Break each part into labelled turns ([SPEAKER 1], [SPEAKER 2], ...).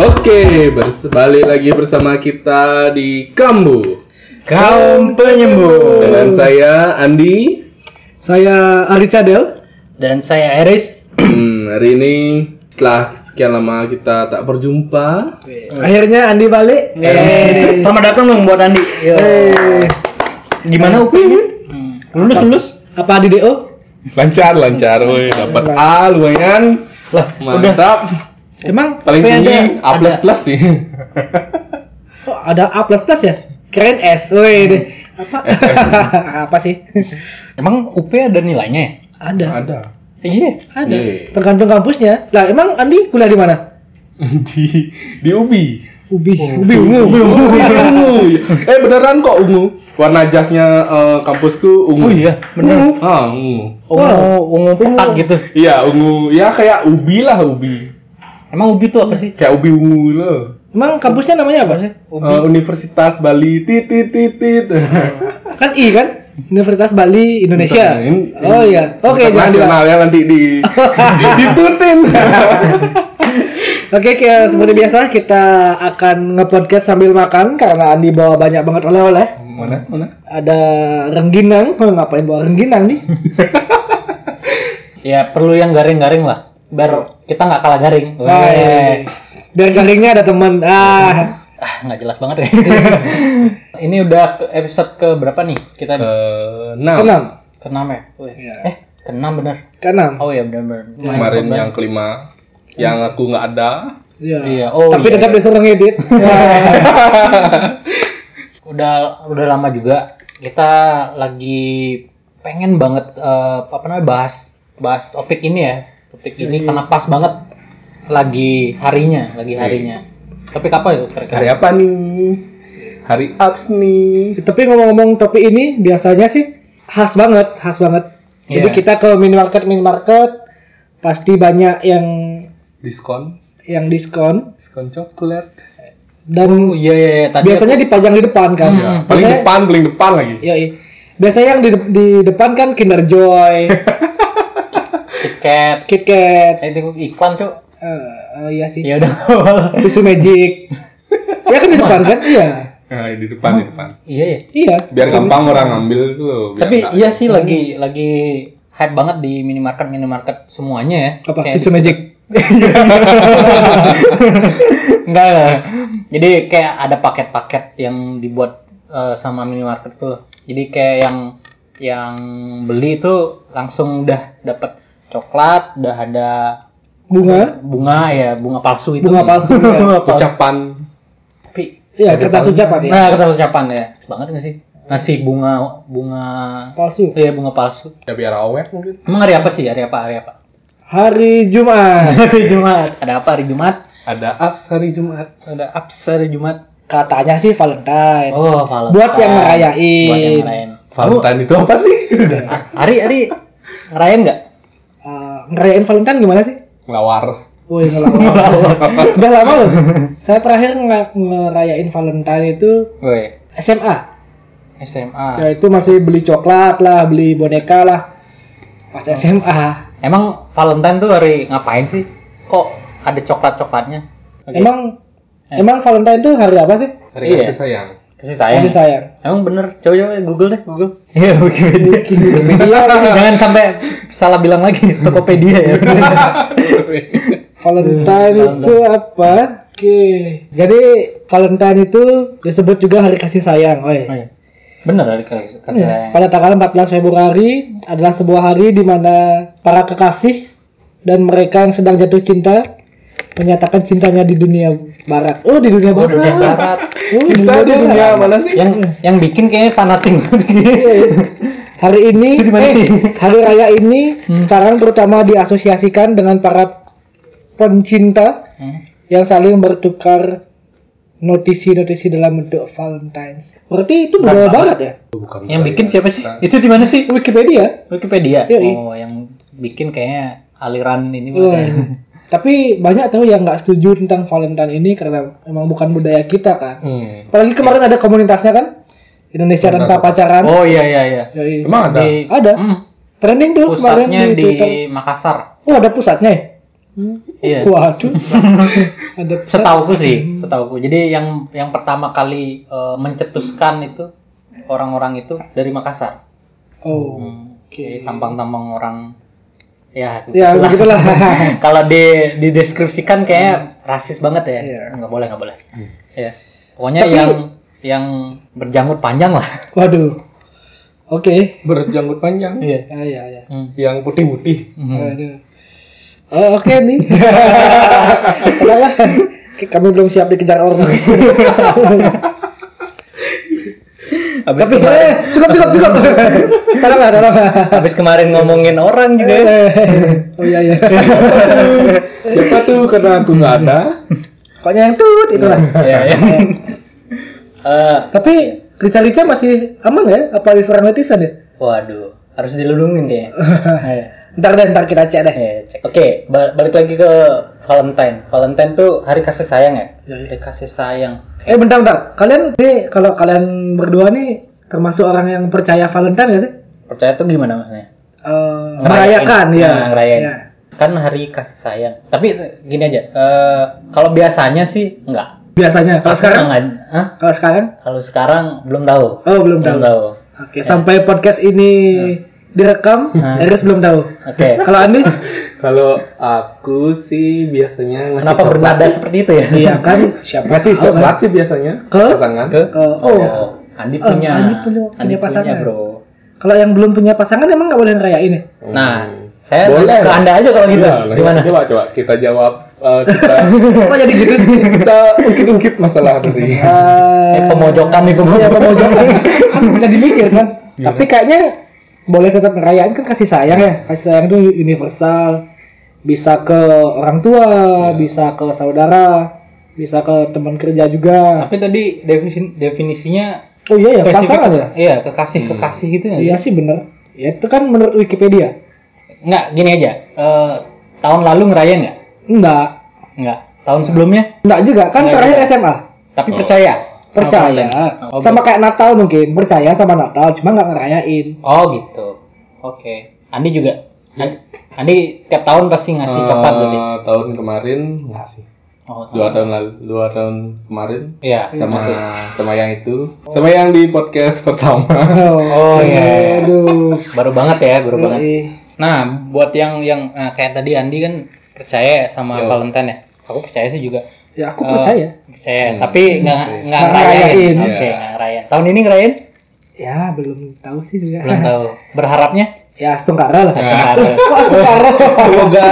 [SPEAKER 1] Oke, bers- balik lagi bersama kita di Kambu
[SPEAKER 2] Kaum penyembuh.
[SPEAKER 1] dengan saya Andi.
[SPEAKER 3] Saya Ari Cadel.
[SPEAKER 2] Dan saya Eris.
[SPEAKER 1] Hmm, hari ini telah sekian lama kita tak berjumpa.
[SPEAKER 3] Iya. Akhirnya Andi balik.
[SPEAKER 2] Eh, Selamat datang dong buat Andi. Yo.
[SPEAKER 3] Iya. Eh.
[SPEAKER 2] Gimana UPI?
[SPEAKER 3] Hmm.
[SPEAKER 2] Lulus lulus.
[SPEAKER 3] Apa di DO?
[SPEAKER 1] Lancar, lancar, woi dapat A lumayan.
[SPEAKER 2] Lah, udah
[SPEAKER 1] Mantap.
[SPEAKER 3] Emang
[SPEAKER 1] Paling
[SPEAKER 3] apa yang
[SPEAKER 1] tinggi A plus plus sih.
[SPEAKER 3] ada, oh, ada A plus plus ya? Hmm. Keren S. Woi, deh. apa? apa sih?
[SPEAKER 2] emang UPI ada nilainya ya?
[SPEAKER 3] ada.
[SPEAKER 1] Ada.
[SPEAKER 2] Iya.
[SPEAKER 3] Ada.
[SPEAKER 1] Yeay.
[SPEAKER 3] Tergantung kampusnya. Lah, emang Andi kuliah di mana?
[SPEAKER 1] Di di Ubi.
[SPEAKER 3] Ubi. Ubi ungu. Ubi
[SPEAKER 1] Ubi ungu. Oh, Eh beneran kok ungu. Warna jasnya eh, kampusku ungu.
[SPEAKER 2] Oh iya, bener. Oh,
[SPEAKER 1] Ah, ungu.
[SPEAKER 2] Ungu ungu pekat gitu.
[SPEAKER 1] Iya, ungu. Ya kayak ubi lah, ubi.
[SPEAKER 2] Emang UPI itu apa sih?
[SPEAKER 1] Kayak ubi ungu loh.
[SPEAKER 3] Emang kampusnya namanya apa?
[SPEAKER 1] Eh, Universitas Bali tit tit tit tit.
[SPEAKER 3] Kan I kan? Universitas Bali Indonesia.
[SPEAKER 1] Bukan, in- in-
[SPEAKER 3] oh iya. Oke, jangan dibahas.
[SPEAKER 1] nasional ya nanti di ditutin.
[SPEAKER 3] Oke, kayak seperti biasa kita akan nge-podcast sambil makan karena Andi bawa banyak banget oleh-oleh.
[SPEAKER 1] mana? Mana?
[SPEAKER 3] Ada rengginang, oh, ngapain bawa rengginang nih?
[SPEAKER 2] Ya perlu yang garing-garing lah. Biar kita nggak kalah garing.
[SPEAKER 3] Wah, iya. Biar garingnya ada teman. Ah,
[SPEAKER 2] Ah, nggak jelas banget ya. Ini udah ke- episode ke berapa nih? Kita
[SPEAKER 1] Eh, nah,
[SPEAKER 3] keenam,
[SPEAKER 2] keenam ya. Wih.
[SPEAKER 3] Iya.
[SPEAKER 2] Eh, keenam bener.
[SPEAKER 3] keenam.
[SPEAKER 2] Oh ya bener-bener. Lumayan
[SPEAKER 1] kemarin
[SPEAKER 2] banyak.
[SPEAKER 1] yang kelima yang aku nggak ada.
[SPEAKER 3] Iya.
[SPEAKER 2] Iya. Oh,
[SPEAKER 3] Tapi
[SPEAKER 2] iya,
[SPEAKER 3] tetap Nah,
[SPEAKER 2] iya.
[SPEAKER 3] disuruh ngedit.
[SPEAKER 2] udah udah lama juga kita lagi pengen banget eh, apa namanya bahas bahas topik ini ya topik ini karena pas banget lagi harinya lagi harinya topik apa ya
[SPEAKER 1] Hari
[SPEAKER 2] kira-kira
[SPEAKER 1] apa nih? Hari apps nih.
[SPEAKER 3] Tapi ngomong-ngomong topik ini biasanya sih khas banget, khas banget. Jadi
[SPEAKER 2] Iya.
[SPEAKER 3] kita ke minimarket minimarket pasti banyak yang
[SPEAKER 1] Diskon,
[SPEAKER 3] yang diskon
[SPEAKER 1] diskon coklat.
[SPEAKER 2] oh
[SPEAKER 3] dan
[SPEAKER 2] iya iya iya, tadi
[SPEAKER 3] biasanya dipajang di depan kan.
[SPEAKER 2] Hmm,
[SPEAKER 1] Ya, paling depan, paling depan lagi.
[SPEAKER 3] Yoi. Biasanya yang di, de- di depan kan Kinder Joy,
[SPEAKER 2] tiket
[SPEAKER 3] Kit Kat,
[SPEAKER 2] itu iklan tuh
[SPEAKER 3] eh, eh, iya sih,
[SPEAKER 2] ya udah
[SPEAKER 3] susu Magic. ya kan di depan kan? Iya.
[SPEAKER 1] Nah, di depan, di depan.
[SPEAKER 2] iya iya
[SPEAKER 3] Iya.
[SPEAKER 1] Biar gampang orang ngambil itu loh. biar
[SPEAKER 2] tapi
[SPEAKER 1] nggak-
[SPEAKER 2] iya sih lagi lagi hype banget di minimarket minimarket semuanya ya
[SPEAKER 3] Apa?
[SPEAKER 2] Kayak
[SPEAKER 3] susu
[SPEAKER 2] di-
[SPEAKER 3] Magic.
[SPEAKER 2] Enggak, enggak. Jadi kayak ada paket-paket yang dibuat eh, sama minimarket tuh. Jadi kayak yang yang beli itu langsung udah dapat coklat, udah ada
[SPEAKER 3] Bunga,
[SPEAKER 2] bunga ya, bunga palsu itu.
[SPEAKER 3] bunga palsu. ya.
[SPEAKER 1] ucapan
[SPEAKER 2] Tapi
[SPEAKER 3] Iya, kertas ucapan ya.
[SPEAKER 2] nah, kata ucapan ya. Sebanget enggak sih? Ngasih bunga bunga
[SPEAKER 3] Palsu.
[SPEAKER 2] Iya, bunga palsu.
[SPEAKER 1] ya biar awet mungkin.
[SPEAKER 2] Emang hari apa sih? Hari apa? Hari apa?
[SPEAKER 3] Hari Jumat.
[SPEAKER 2] Hari Jumat. Ada apa hari Jumat?
[SPEAKER 1] Ada apps hari Jumat.
[SPEAKER 2] Ada apps hari Jumat.
[SPEAKER 3] Katanya sih Valentine.
[SPEAKER 2] Oh, Valentine.
[SPEAKER 3] Buat yang ngerayain.
[SPEAKER 2] Buat yang ngerayain. Kamu-
[SPEAKER 1] Valentine itu apa sih?
[SPEAKER 2] Ari, Ari, ngerayain nggak?
[SPEAKER 3] Eh, ngerayain Valentine gimana sih?
[SPEAKER 1] Ngelawar.
[SPEAKER 3] Woi, ngelawan. Udah lama loh. Saya terakhir nge- ngerayain Valentine itu
[SPEAKER 2] Woi,
[SPEAKER 3] SMA. Ya
[SPEAKER 2] SMA.
[SPEAKER 3] itu masih beli coklat lah, beli boneka lah. Pas
[SPEAKER 1] Oh.
[SPEAKER 3] SMA.
[SPEAKER 2] Emang Valentine tuh hari ngapain sih? Kok ada coklat-coklatnya?
[SPEAKER 3] Emang
[SPEAKER 1] Eh.
[SPEAKER 3] emang Valentine itu hari apa sih?
[SPEAKER 1] Hari
[SPEAKER 2] Iya.
[SPEAKER 1] kasih sayang.
[SPEAKER 2] Kasih
[SPEAKER 3] Hari
[SPEAKER 2] sayang.
[SPEAKER 3] sayang.
[SPEAKER 2] Emang bener, coba-coba Google deh, Google. Iya, Wikipedia. Jangan sampai salah bilang lagi, Tokopedia ya.
[SPEAKER 3] Valentine itu apa? Oke. Jadi Valentine itu disebut juga hari kasih sayang, oi.
[SPEAKER 2] Oh, iya. bener hari kasih
[SPEAKER 3] Iya.
[SPEAKER 2] kasih sayang.
[SPEAKER 3] Pada tanggal 14 Februari adalah sebuah hari di mana para kekasih dan mereka yang sedang jatuh cinta menyatakan cintanya di dunia barat. Oh, di dunia
[SPEAKER 2] Oh,
[SPEAKER 3] barat.
[SPEAKER 2] dunia barat.
[SPEAKER 3] Oh, di
[SPEAKER 1] Kita
[SPEAKER 3] dunia
[SPEAKER 1] di dunia
[SPEAKER 3] barat. Hmm.
[SPEAKER 1] mana sih?
[SPEAKER 2] Yang yang bikin kayaknya fanatik. Iya,
[SPEAKER 3] Hari ini,
[SPEAKER 2] Itu di mana
[SPEAKER 3] eh,
[SPEAKER 2] sih? Hmm.
[SPEAKER 3] hari raya ini sekarang terutama diasosiasikan dengan para pencinta
[SPEAKER 2] Hmm?
[SPEAKER 3] yang saling bertukar notisi-notisi dalam bentuk Valentine's. Berarti itu budaya barat ya?
[SPEAKER 1] Bukan.
[SPEAKER 2] yang bikin siapa sih? Itu di mana sih?
[SPEAKER 3] Wikipedia.
[SPEAKER 2] Wikipedia.
[SPEAKER 3] Yoi.
[SPEAKER 2] Oh, yang bikin kayaknya aliran ini
[SPEAKER 3] Wah.
[SPEAKER 2] bukan.
[SPEAKER 3] Tapi banyak tuh yang nggak setuju tentang Valentine ini karena memang bukan budaya kita kan.
[SPEAKER 1] Hmm.
[SPEAKER 3] Apalagi kemarin ada komunitasnya kan, Indonesia tanpa pacaran.
[SPEAKER 2] Oh iya iya iya.
[SPEAKER 3] Yoi.
[SPEAKER 1] Emang ada.
[SPEAKER 2] Di-
[SPEAKER 3] Ada.
[SPEAKER 2] Hmm,
[SPEAKER 3] Trending tuh kemarin
[SPEAKER 2] pusatnya
[SPEAKER 3] di
[SPEAKER 2] di,
[SPEAKER 3] Twitter.
[SPEAKER 2] Makassar.
[SPEAKER 3] Oh ada pusatnya. ya?
[SPEAKER 2] Iya.
[SPEAKER 3] Waduh. Ada
[SPEAKER 2] Setauku
[SPEAKER 3] Hmm.
[SPEAKER 2] sih, setauku. Jadi yang yang pertama kali eh, mencetuskan itu orang-orang itu dari Makassar.
[SPEAKER 3] Oh.
[SPEAKER 2] Hmm. Jadi Tampang-tampang orang ya
[SPEAKER 3] Ya begitulah.
[SPEAKER 2] begitulah. Kalau di dideskripsikan kayak rasis banget ya.
[SPEAKER 3] Hmm. Iya.
[SPEAKER 2] Nggak boleh, nggak boleh. Iya. Pokoknya
[SPEAKER 3] Tapi-
[SPEAKER 2] yang yang berjanggut panjang lah.
[SPEAKER 3] Waduh. Oke.
[SPEAKER 1] berjanggut panjang
[SPEAKER 2] Iya.
[SPEAKER 3] Ah, ya ya.
[SPEAKER 1] yang putih-putih
[SPEAKER 2] Hmm.
[SPEAKER 3] Waduh. Oh, oke nih. Kenapa? Kami belum siap dikejar orang.
[SPEAKER 2] Habis
[SPEAKER 3] Tapi
[SPEAKER 2] kemarin,
[SPEAKER 3] eh, cukup cukup cukup. Tolong lah, tolong lah.
[SPEAKER 2] habis kemarin ngomongin orang juga
[SPEAKER 3] Iya.
[SPEAKER 2] ya.
[SPEAKER 3] Oh iya iya.
[SPEAKER 1] siapa tuh karena aku nggak ada
[SPEAKER 3] Pokoknya yang tut itulah.
[SPEAKER 2] Iya, iya. Eh,
[SPEAKER 3] Tapi Rica-Rica masih aman ya? Apa diserang netizen ya?
[SPEAKER 2] waduh, harus dilulungin kayaknya.
[SPEAKER 3] Oh,
[SPEAKER 2] Iya.
[SPEAKER 3] ntar deh, ntar kita cek deh.
[SPEAKER 2] Iya, cek. Oke, ba- balik lagi ke Valentine. Valentine tuh hari kasih sayang ya?
[SPEAKER 3] Iya, iya.
[SPEAKER 2] Hari kasih sayang.
[SPEAKER 3] Eh bentar bentar, kalian nih kalau kalian berdua nih termasuk orang yang percaya Valentine gak sih?
[SPEAKER 2] Percaya tuh gimana maksudnya?
[SPEAKER 3] Eh,
[SPEAKER 2] Ngerayain.
[SPEAKER 3] merayakan ya.
[SPEAKER 2] Nah, ngerayain.
[SPEAKER 3] Ya.
[SPEAKER 2] Kan hari kasih sayang. Tapi gini aja, eh, kalau biasanya sih enggak.
[SPEAKER 3] Biasanya. Kalau
[SPEAKER 2] Aku
[SPEAKER 3] sekarang?
[SPEAKER 2] enggak- Hah?
[SPEAKER 3] Kalau sekarang?
[SPEAKER 2] Kalau sekarang belum tahu. Ya.
[SPEAKER 3] Oh belum tahu. Oke, sampai podcast ini direkam,
[SPEAKER 2] Nah.
[SPEAKER 3] Eris belum tahu.
[SPEAKER 2] Oke.
[SPEAKER 3] Kalau Andi?
[SPEAKER 1] kalau aku sih biasanya ngasih
[SPEAKER 2] Kenapa
[SPEAKER 1] coklat
[SPEAKER 2] bernada
[SPEAKER 1] sih.
[SPEAKER 2] seperti itu ya?
[SPEAKER 3] iya kan? Siapa
[SPEAKER 1] ngasih
[SPEAKER 3] tahu
[SPEAKER 1] coklat
[SPEAKER 3] kan?
[SPEAKER 1] sih biasanya
[SPEAKER 3] Ke?
[SPEAKER 1] pasangan
[SPEAKER 2] Ke?
[SPEAKER 3] Eh,
[SPEAKER 2] Oh,
[SPEAKER 3] oh,
[SPEAKER 2] Andi
[SPEAKER 3] Oh,
[SPEAKER 2] punya.
[SPEAKER 3] Andi punya- punya pasangan. Hmm.
[SPEAKER 2] bro.
[SPEAKER 3] kalau yang belum punya pasangan emang nggak boleh ngerayain ya?
[SPEAKER 1] Hmm.
[SPEAKER 2] Nah, saya
[SPEAKER 1] Boleh.
[SPEAKER 2] ke Anda aja kalau gitu.
[SPEAKER 1] Iya, nah,
[SPEAKER 2] Gimana?
[SPEAKER 1] coba coba kita jawab eh, kita
[SPEAKER 3] Kok jadi gitu sih?
[SPEAKER 1] kita ungkit-ungkit masalah tadi
[SPEAKER 3] Eh,
[SPEAKER 2] Eh, pemojokan nih
[SPEAKER 3] Iya
[SPEAKER 2] pemojokan.
[SPEAKER 3] pemojokan kan bisa dipikir kan.
[SPEAKER 2] Iya.
[SPEAKER 3] Tapi kayaknya boleh tetap ngerayain kan kasih sayang ya. Kasih sayang itu universal. Bisa ke orang tua,
[SPEAKER 2] Iya.
[SPEAKER 3] bisa ke saudara, bisa ke teman kerja juga.
[SPEAKER 2] Tapi tadi defisi- definisinya
[SPEAKER 3] Oh iya ya, pasangan
[SPEAKER 2] spesifik-
[SPEAKER 3] ya.
[SPEAKER 2] Iya,
[SPEAKER 1] Hmm.
[SPEAKER 2] kekasih-kekasih gitu ya.
[SPEAKER 3] Iya sih bener. Ya itu kan menurut Wikipedia.
[SPEAKER 2] Enggak, gini aja. Eh, tahun lalu ngerayain nggak?
[SPEAKER 3] Enggak.
[SPEAKER 2] Enggak. Tahun sebelumnya?
[SPEAKER 3] Enggak juga kan
[SPEAKER 2] Enggak
[SPEAKER 3] terakhir
[SPEAKER 2] juga.
[SPEAKER 3] SMA.
[SPEAKER 2] Tapi
[SPEAKER 1] Oh.
[SPEAKER 2] percaya.
[SPEAKER 3] Percaya.
[SPEAKER 2] Oh,
[SPEAKER 3] Sama kayak Natal mungkin, percaya sama Natal cuma nggak ngerayain.
[SPEAKER 2] Oh, gitu. Oke. Andi juga. An- Andi tiap tahun pasti ngasih coklat berarti.
[SPEAKER 1] Eh, tahun kemarin ngasih
[SPEAKER 2] Oh,
[SPEAKER 1] dua
[SPEAKER 3] Ah.
[SPEAKER 1] tahun lalu dua tahun kemarin
[SPEAKER 2] Iya,
[SPEAKER 1] sama
[SPEAKER 2] ngasih.
[SPEAKER 1] sama yang itu
[SPEAKER 3] Oh.
[SPEAKER 1] sama yang di podcast pertama
[SPEAKER 2] Oh, iya.
[SPEAKER 3] Aduh.
[SPEAKER 2] Baru banget ya, baru banget.
[SPEAKER 3] Yoi.
[SPEAKER 2] Nah, buat yang yang nah, kayak tadi Andi kan percaya sama
[SPEAKER 1] Yo.
[SPEAKER 2] Valentine ya. Aku percaya sih juga.
[SPEAKER 3] Ya aku
[SPEAKER 2] Eh,
[SPEAKER 3] percaya.
[SPEAKER 2] Percaya,
[SPEAKER 1] Hmm.
[SPEAKER 2] tapi nggak nggak
[SPEAKER 3] Nggak
[SPEAKER 2] ngerayain.
[SPEAKER 3] ngerayain.
[SPEAKER 2] Oke,
[SPEAKER 1] Iya.
[SPEAKER 2] nggak ngerayain. Tahun ini ngerayain?
[SPEAKER 3] Ya belum tahu sih juga.
[SPEAKER 2] Belum tahu. Berharapnya?
[SPEAKER 3] ya Astungkara lah.
[SPEAKER 2] Sementara.
[SPEAKER 3] Kok Astungkara?
[SPEAKER 1] semoga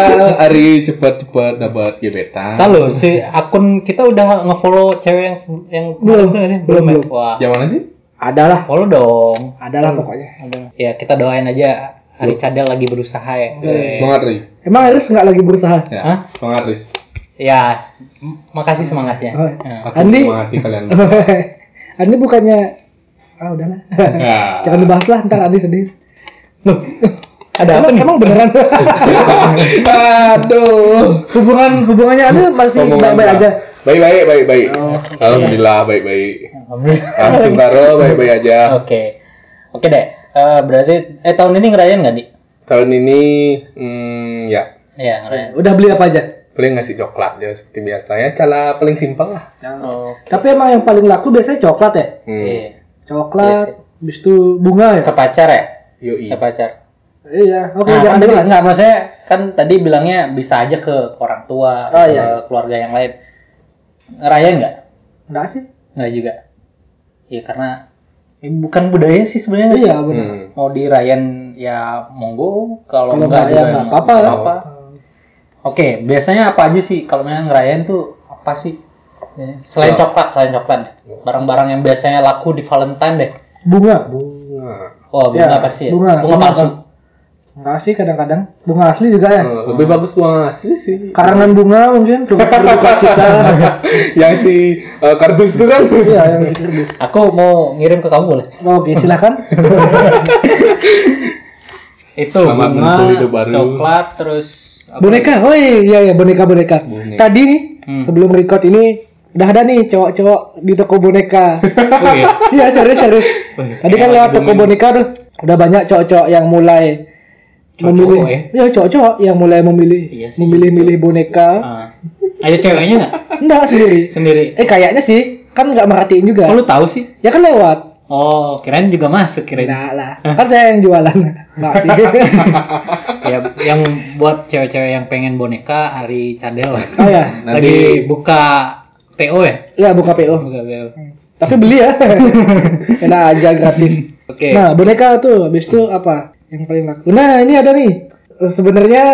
[SPEAKER 1] Ari cepat-cepat dapat gebetan
[SPEAKER 2] Tahu loh, si akun kita udah ngefollow cewek yang se- yang
[SPEAKER 3] Belum,
[SPEAKER 2] itu nggak sih?
[SPEAKER 3] belum,
[SPEAKER 2] ya?
[SPEAKER 3] belum.
[SPEAKER 2] Wah,
[SPEAKER 1] yang mana sih
[SPEAKER 3] Adalah,
[SPEAKER 2] follow dong.
[SPEAKER 3] adalah pokoknya.
[SPEAKER 2] Ada. Ya kita doain aja hari cadel lagi berusaha ya.
[SPEAKER 3] Eh.
[SPEAKER 1] semangat Ri
[SPEAKER 3] Emang Eris nggak lagi berusaha?
[SPEAKER 1] ya
[SPEAKER 2] Hah?
[SPEAKER 1] semangat Ri
[SPEAKER 2] Ya, m- makasih semangatnya.
[SPEAKER 3] Oh.
[SPEAKER 2] Ya.
[SPEAKER 1] aku
[SPEAKER 3] Andi.
[SPEAKER 1] semangati kalian
[SPEAKER 3] Andi bukannya ah udahlah.
[SPEAKER 1] ya.
[SPEAKER 3] Jangan dibahas lah, ntar Andi sedih.
[SPEAKER 2] Ada apa
[SPEAKER 3] Emang,
[SPEAKER 2] nih?
[SPEAKER 3] emang beneran
[SPEAKER 1] aduh
[SPEAKER 3] hubungan hubungannya Andi masih
[SPEAKER 1] Omongan
[SPEAKER 3] baik-baik
[SPEAKER 1] gua.
[SPEAKER 3] aja.
[SPEAKER 1] baik-baik baik-baik
[SPEAKER 3] Oh,
[SPEAKER 1] alhamdulillah baik-baik
[SPEAKER 2] Alhamdulillah.
[SPEAKER 1] Langsung taro baik-baik aja
[SPEAKER 3] Oh.
[SPEAKER 2] Oke. Oke deh. Eh, berarti eh tahun ini ngerayain nggak, Di?
[SPEAKER 1] tahun ini hmm, ya
[SPEAKER 2] Iya, ngerayain.
[SPEAKER 3] Eh, Udah beli apa aja?
[SPEAKER 1] paling ngasih coklat ya seperti biasa ya cara paling simpel lah
[SPEAKER 2] Oke.
[SPEAKER 3] Ya. Tapi emang yang paling laku biasanya coklat ya.
[SPEAKER 1] hmm.
[SPEAKER 2] Iya
[SPEAKER 3] Coklat, habis itu bunga ya.
[SPEAKER 2] Ke pacar ya?
[SPEAKER 1] yoi
[SPEAKER 2] Ke pacar.
[SPEAKER 3] Iya, oke jangan
[SPEAKER 2] Nah, kan tadi,
[SPEAKER 3] dibahas.
[SPEAKER 2] enggak, maksudnya kan tadi bilangnya bisa aja ke orang tua,
[SPEAKER 3] Oh,
[SPEAKER 2] ke
[SPEAKER 3] iya.
[SPEAKER 2] keluarga yang lain. Ngerayain nggak?
[SPEAKER 3] Enggak sih?
[SPEAKER 2] Nggak juga. Ya karena ya, bukan budaya sih sebenarnya.
[SPEAKER 3] Iya, benar.
[SPEAKER 1] Hmm.
[SPEAKER 2] Mau dirayain ya monggo, kalau
[SPEAKER 3] Kalau
[SPEAKER 2] enggak
[SPEAKER 3] nggak ya
[SPEAKER 2] juga
[SPEAKER 3] nggak apa-apa.
[SPEAKER 2] nggak apa-apa. Oke, biasanya apa aja sih kalau misalnya ngerayain tuh apa sih? Ya, Selain
[SPEAKER 1] Coklat.
[SPEAKER 2] coklat, selain coklat, barang-barang yang biasanya laku di Valentine deh.
[SPEAKER 3] Bunga.
[SPEAKER 1] bunga
[SPEAKER 2] Oh,
[SPEAKER 3] Iya,
[SPEAKER 2] bunga pasti ya.
[SPEAKER 3] bunga.
[SPEAKER 2] bunga
[SPEAKER 3] Bunga
[SPEAKER 2] palsu. Hmm.
[SPEAKER 3] apa? Enggak sih kadang-kadang bunga asli juga ya.
[SPEAKER 1] Eh, lebih bagus bunga asli sih
[SPEAKER 3] Karangan bunga mungkin untuk berduka cita.
[SPEAKER 1] yang si eh, kardus itu kan
[SPEAKER 3] Iya, yang isi kerdus.
[SPEAKER 2] Aku mau ngirim ke kamu boleh?
[SPEAKER 3] Oke, silakan.
[SPEAKER 2] itu
[SPEAKER 1] Selamat
[SPEAKER 2] bunga,
[SPEAKER 1] menempuh hidup baru.
[SPEAKER 2] coklat terus apa?
[SPEAKER 3] Boneka. Oh iya iya boneka boneka.
[SPEAKER 1] Boneka.
[SPEAKER 3] Tadi nih
[SPEAKER 2] Hmm.
[SPEAKER 3] sebelum record ini udah ada nih cowok-cowok di toko boneka.
[SPEAKER 2] Oh, iya.
[SPEAKER 3] Iya serius serius. Tadi kan
[SPEAKER 1] Emang
[SPEAKER 3] lewat
[SPEAKER 1] lagi
[SPEAKER 3] toko
[SPEAKER 1] booming.
[SPEAKER 3] boneka tuh udah banyak cowok-cowok yang mulai memilih
[SPEAKER 2] ya?
[SPEAKER 3] ya cowok-cowok yang mulai memilih
[SPEAKER 2] Iya sih,
[SPEAKER 3] memilih-milih boneka
[SPEAKER 2] Ah. ada ceweknya nggak
[SPEAKER 3] enggak sendiri
[SPEAKER 2] sendiri
[SPEAKER 3] eh kayaknya sih kan nggak merhatiin juga
[SPEAKER 2] oh, lu tahu sih
[SPEAKER 3] ya kan lewat
[SPEAKER 2] oh kirain juga masuk kirain
[SPEAKER 3] enggak lah kan saya yang jualan enggak sih
[SPEAKER 2] ya yang buat cewek-cewek yang pengen boneka Ari Cadel
[SPEAKER 3] oh ya
[SPEAKER 2] lagi buka PO ya
[SPEAKER 3] ya buka PO
[SPEAKER 2] buka PO
[SPEAKER 3] tapi beli ya enak aja gratis
[SPEAKER 2] oke
[SPEAKER 3] Nah, boneka tuh habis itu apa yang paling laku? Nah, ini ada nih. Sebenarnya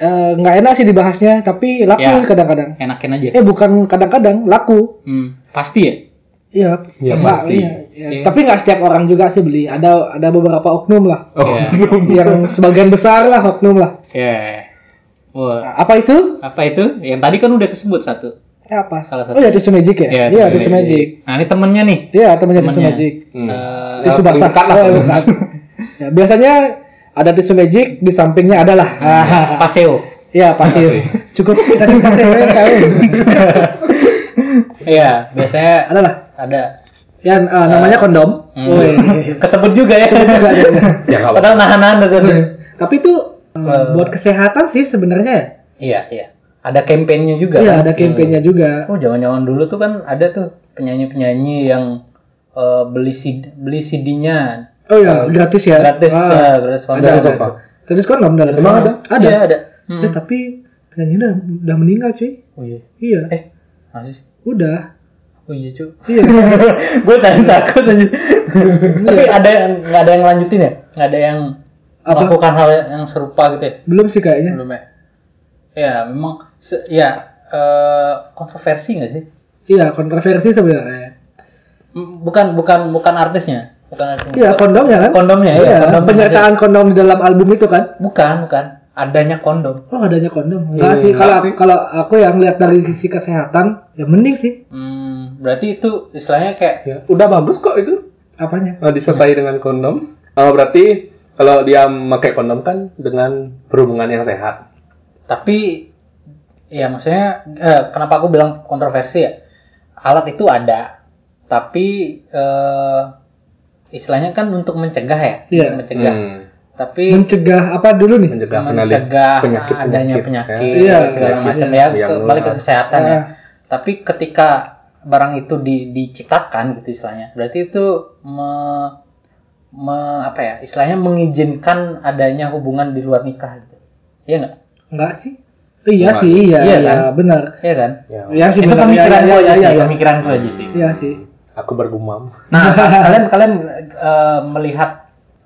[SPEAKER 3] eh, nggak enak sih dibahasnya, tapi laku
[SPEAKER 2] Ya.
[SPEAKER 3] kadang-kadang.
[SPEAKER 2] enakin aja
[SPEAKER 3] Eh bukan kadang-kadang, laku.
[SPEAKER 2] Hmm, pasti ya
[SPEAKER 3] Iya,
[SPEAKER 1] Ya,
[SPEAKER 3] nggak,
[SPEAKER 1] pasti.
[SPEAKER 3] iya, iya.
[SPEAKER 2] Iya.
[SPEAKER 3] Tapi nggak setiap orang juga sih beli. Ada ada beberapa oknum lah,
[SPEAKER 1] Oh,
[SPEAKER 2] Iya.
[SPEAKER 1] belum.
[SPEAKER 3] yang sebagian besar lah oknum lah.
[SPEAKER 2] ya wah
[SPEAKER 3] Nah, apa itu?
[SPEAKER 2] apa itu yang tadi kan udah kesebut satu
[SPEAKER 3] Eh, Apa?
[SPEAKER 2] Salah satu.
[SPEAKER 3] Oh ya, tisu magic ya? Iya, tisu magic.
[SPEAKER 2] nah ini temennya nih
[SPEAKER 3] Iya, temannya tisu
[SPEAKER 2] Temannya.
[SPEAKER 3] magic.
[SPEAKER 1] Hmm.
[SPEAKER 2] Eh,
[SPEAKER 3] Tisu
[SPEAKER 1] paling
[SPEAKER 3] basah.
[SPEAKER 1] dekat lah,
[SPEAKER 3] Oh,
[SPEAKER 1] paling
[SPEAKER 3] bukan. Ya, biasanya ada tisu magic di sampingnya adalah.
[SPEAKER 2] Iya, Eh, Paseo
[SPEAKER 3] Ya pasti.
[SPEAKER 1] Pasti.
[SPEAKER 3] Cukup kita kasih yang tahu.
[SPEAKER 2] iya biasanya
[SPEAKER 3] Ada lah.
[SPEAKER 2] ada
[SPEAKER 3] Ya eh, namanya kondom.
[SPEAKER 2] Hmm.
[SPEAKER 3] Woi.
[SPEAKER 2] kesebut juga ya
[SPEAKER 3] Juga ada ya.
[SPEAKER 1] Ya nggak apa-apa.
[SPEAKER 2] padahal nahan-nahan tuh,
[SPEAKER 3] Iya.
[SPEAKER 2] tuh.
[SPEAKER 3] Tapi itu eh,
[SPEAKER 2] Eh.
[SPEAKER 3] buat kesehatan sih sebenarnya. ya.
[SPEAKER 2] Iya, iya. Ada kampanyenya juga.
[SPEAKER 3] Iya
[SPEAKER 2] kan?
[SPEAKER 3] ada kampanye juga.
[SPEAKER 2] Hmm. Oh, zaman-zaman dulu tuh kan ada tuh penyanyi-penyanyi yang eh, beli CD, beli CD-nya
[SPEAKER 3] Oh iya gratis ya.
[SPEAKER 2] Eh, gratis, ya,
[SPEAKER 3] Ah,
[SPEAKER 2] gratis
[SPEAKER 3] Ada
[SPEAKER 2] Gratis
[SPEAKER 3] ada.
[SPEAKER 2] apa?
[SPEAKER 3] Gratis kondom dan
[SPEAKER 1] Emang ada?
[SPEAKER 3] Ada.
[SPEAKER 2] Iya, ada.
[SPEAKER 3] Eh,
[SPEAKER 2] Hmm.
[SPEAKER 3] tapi penyanyi udah, udah meninggal cuy.
[SPEAKER 2] Oh iya.
[SPEAKER 3] Iya.
[SPEAKER 2] Eh, masih sih?
[SPEAKER 3] Udah.
[SPEAKER 2] Oh iya, Cuk.
[SPEAKER 3] Iya.
[SPEAKER 2] Gue tadi takut aja. Tapi ada yang nggak ada yang lanjutin ya? Nggak ada yang
[SPEAKER 3] Apa?
[SPEAKER 2] melakukan hal yang serupa gitu ya?
[SPEAKER 3] Belum sih kayaknya.
[SPEAKER 2] Belum ya? Ya, memang se- ya eh, kontroversi nggak sih?
[SPEAKER 3] Iya kontroversi sebenarnya.
[SPEAKER 2] M- Bukan bukan bukan artisnya, bukan artisnya.
[SPEAKER 3] Iya kondomnya kan?
[SPEAKER 2] Kondomnya, iya,
[SPEAKER 3] Iya.
[SPEAKER 2] kondom.
[SPEAKER 3] penyertaan kondom di dalam album itu kan?
[SPEAKER 2] Bukan, bukan. Adanya kondom.
[SPEAKER 3] Oh adanya kondom?
[SPEAKER 2] Iya,
[SPEAKER 3] Enggak
[SPEAKER 1] Hmm,
[SPEAKER 3] sih kalau
[SPEAKER 1] enggak sih.
[SPEAKER 3] kalau aku yang lihat dari sisi kesehatan ya mending sih.
[SPEAKER 2] Hmm, berarti itu istilahnya kayak
[SPEAKER 1] Ya, udah bagus kok itu.
[SPEAKER 3] Apanya?
[SPEAKER 1] Nah, disertai dengan kondom. Oh, berarti kalau dia memakai kondom kan dengan berhubungan yang sehat.
[SPEAKER 2] tapi ya maksudnya eh, kenapa aku bilang kontroversi ya? Alat itu ada, tapi eh, istilahnya kan untuk mencegah ya,
[SPEAKER 3] Iya.
[SPEAKER 2] Untuk mencegah.
[SPEAKER 1] Hmm.
[SPEAKER 2] Tapi
[SPEAKER 3] Mencegah apa dulu nih?
[SPEAKER 1] Mencegah, Ya. penali-
[SPEAKER 2] mencegah
[SPEAKER 1] penyakit,
[SPEAKER 2] adanya
[SPEAKER 1] penyakit.
[SPEAKER 2] penyakit,
[SPEAKER 3] Iya,
[SPEAKER 2] segala
[SPEAKER 3] penyakit
[SPEAKER 2] macam
[SPEAKER 3] yang-
[SPEAKER 2] ya,
[SPEAKER 1] yang
[SPEAKER 2] ke- balik ke
[SPEAKER 1] menular.
[SPEAKER 2] kesehatan ya.
[SPEAKER 3] Ah.
[SPEAKER 2] Tapi ketika barang itu di- diciptakan gitu istilahnya, berarti itu me- me- apa ya? Istilahnya mengizinkan adanya hubungan di luar nikah gitu. Iya nggak?
[SPEAKER 3] Enggak sih. Iya
[SPEAKER 1] Enggak.
[SPEAKER 3] sih, iya,
[SPEAKER 2] Iya
[SPEAKER 3] iya,
[SPEAKER 2] kan?
[SPEAKER 3] benar.
[SPEAKER 2] Iya kan?
[SPEAKER 1] Ya.
[SPEAKER 3] Iya sih
[SPEAKER 2] itu
[SPEAKER 3] benar.
[SPEAKER 2] pemikiran
[SPEAKER 3] iya,
[SPEAKER 2] gue
[SPEAKER 3] iya,
[SPEAKER 2] aja
[SPEAKER 3] iya,
[SPEAKER 2] sih,
[SPEAKER 3] iya.
[SPEAKER 2] pemikiran gue aja sih.
[SPEAKER 3] Iya sih.
[SPEAKER 1] Aku bergumam.
[SPEAKER 2] Nah, kalian kalian eh, melihat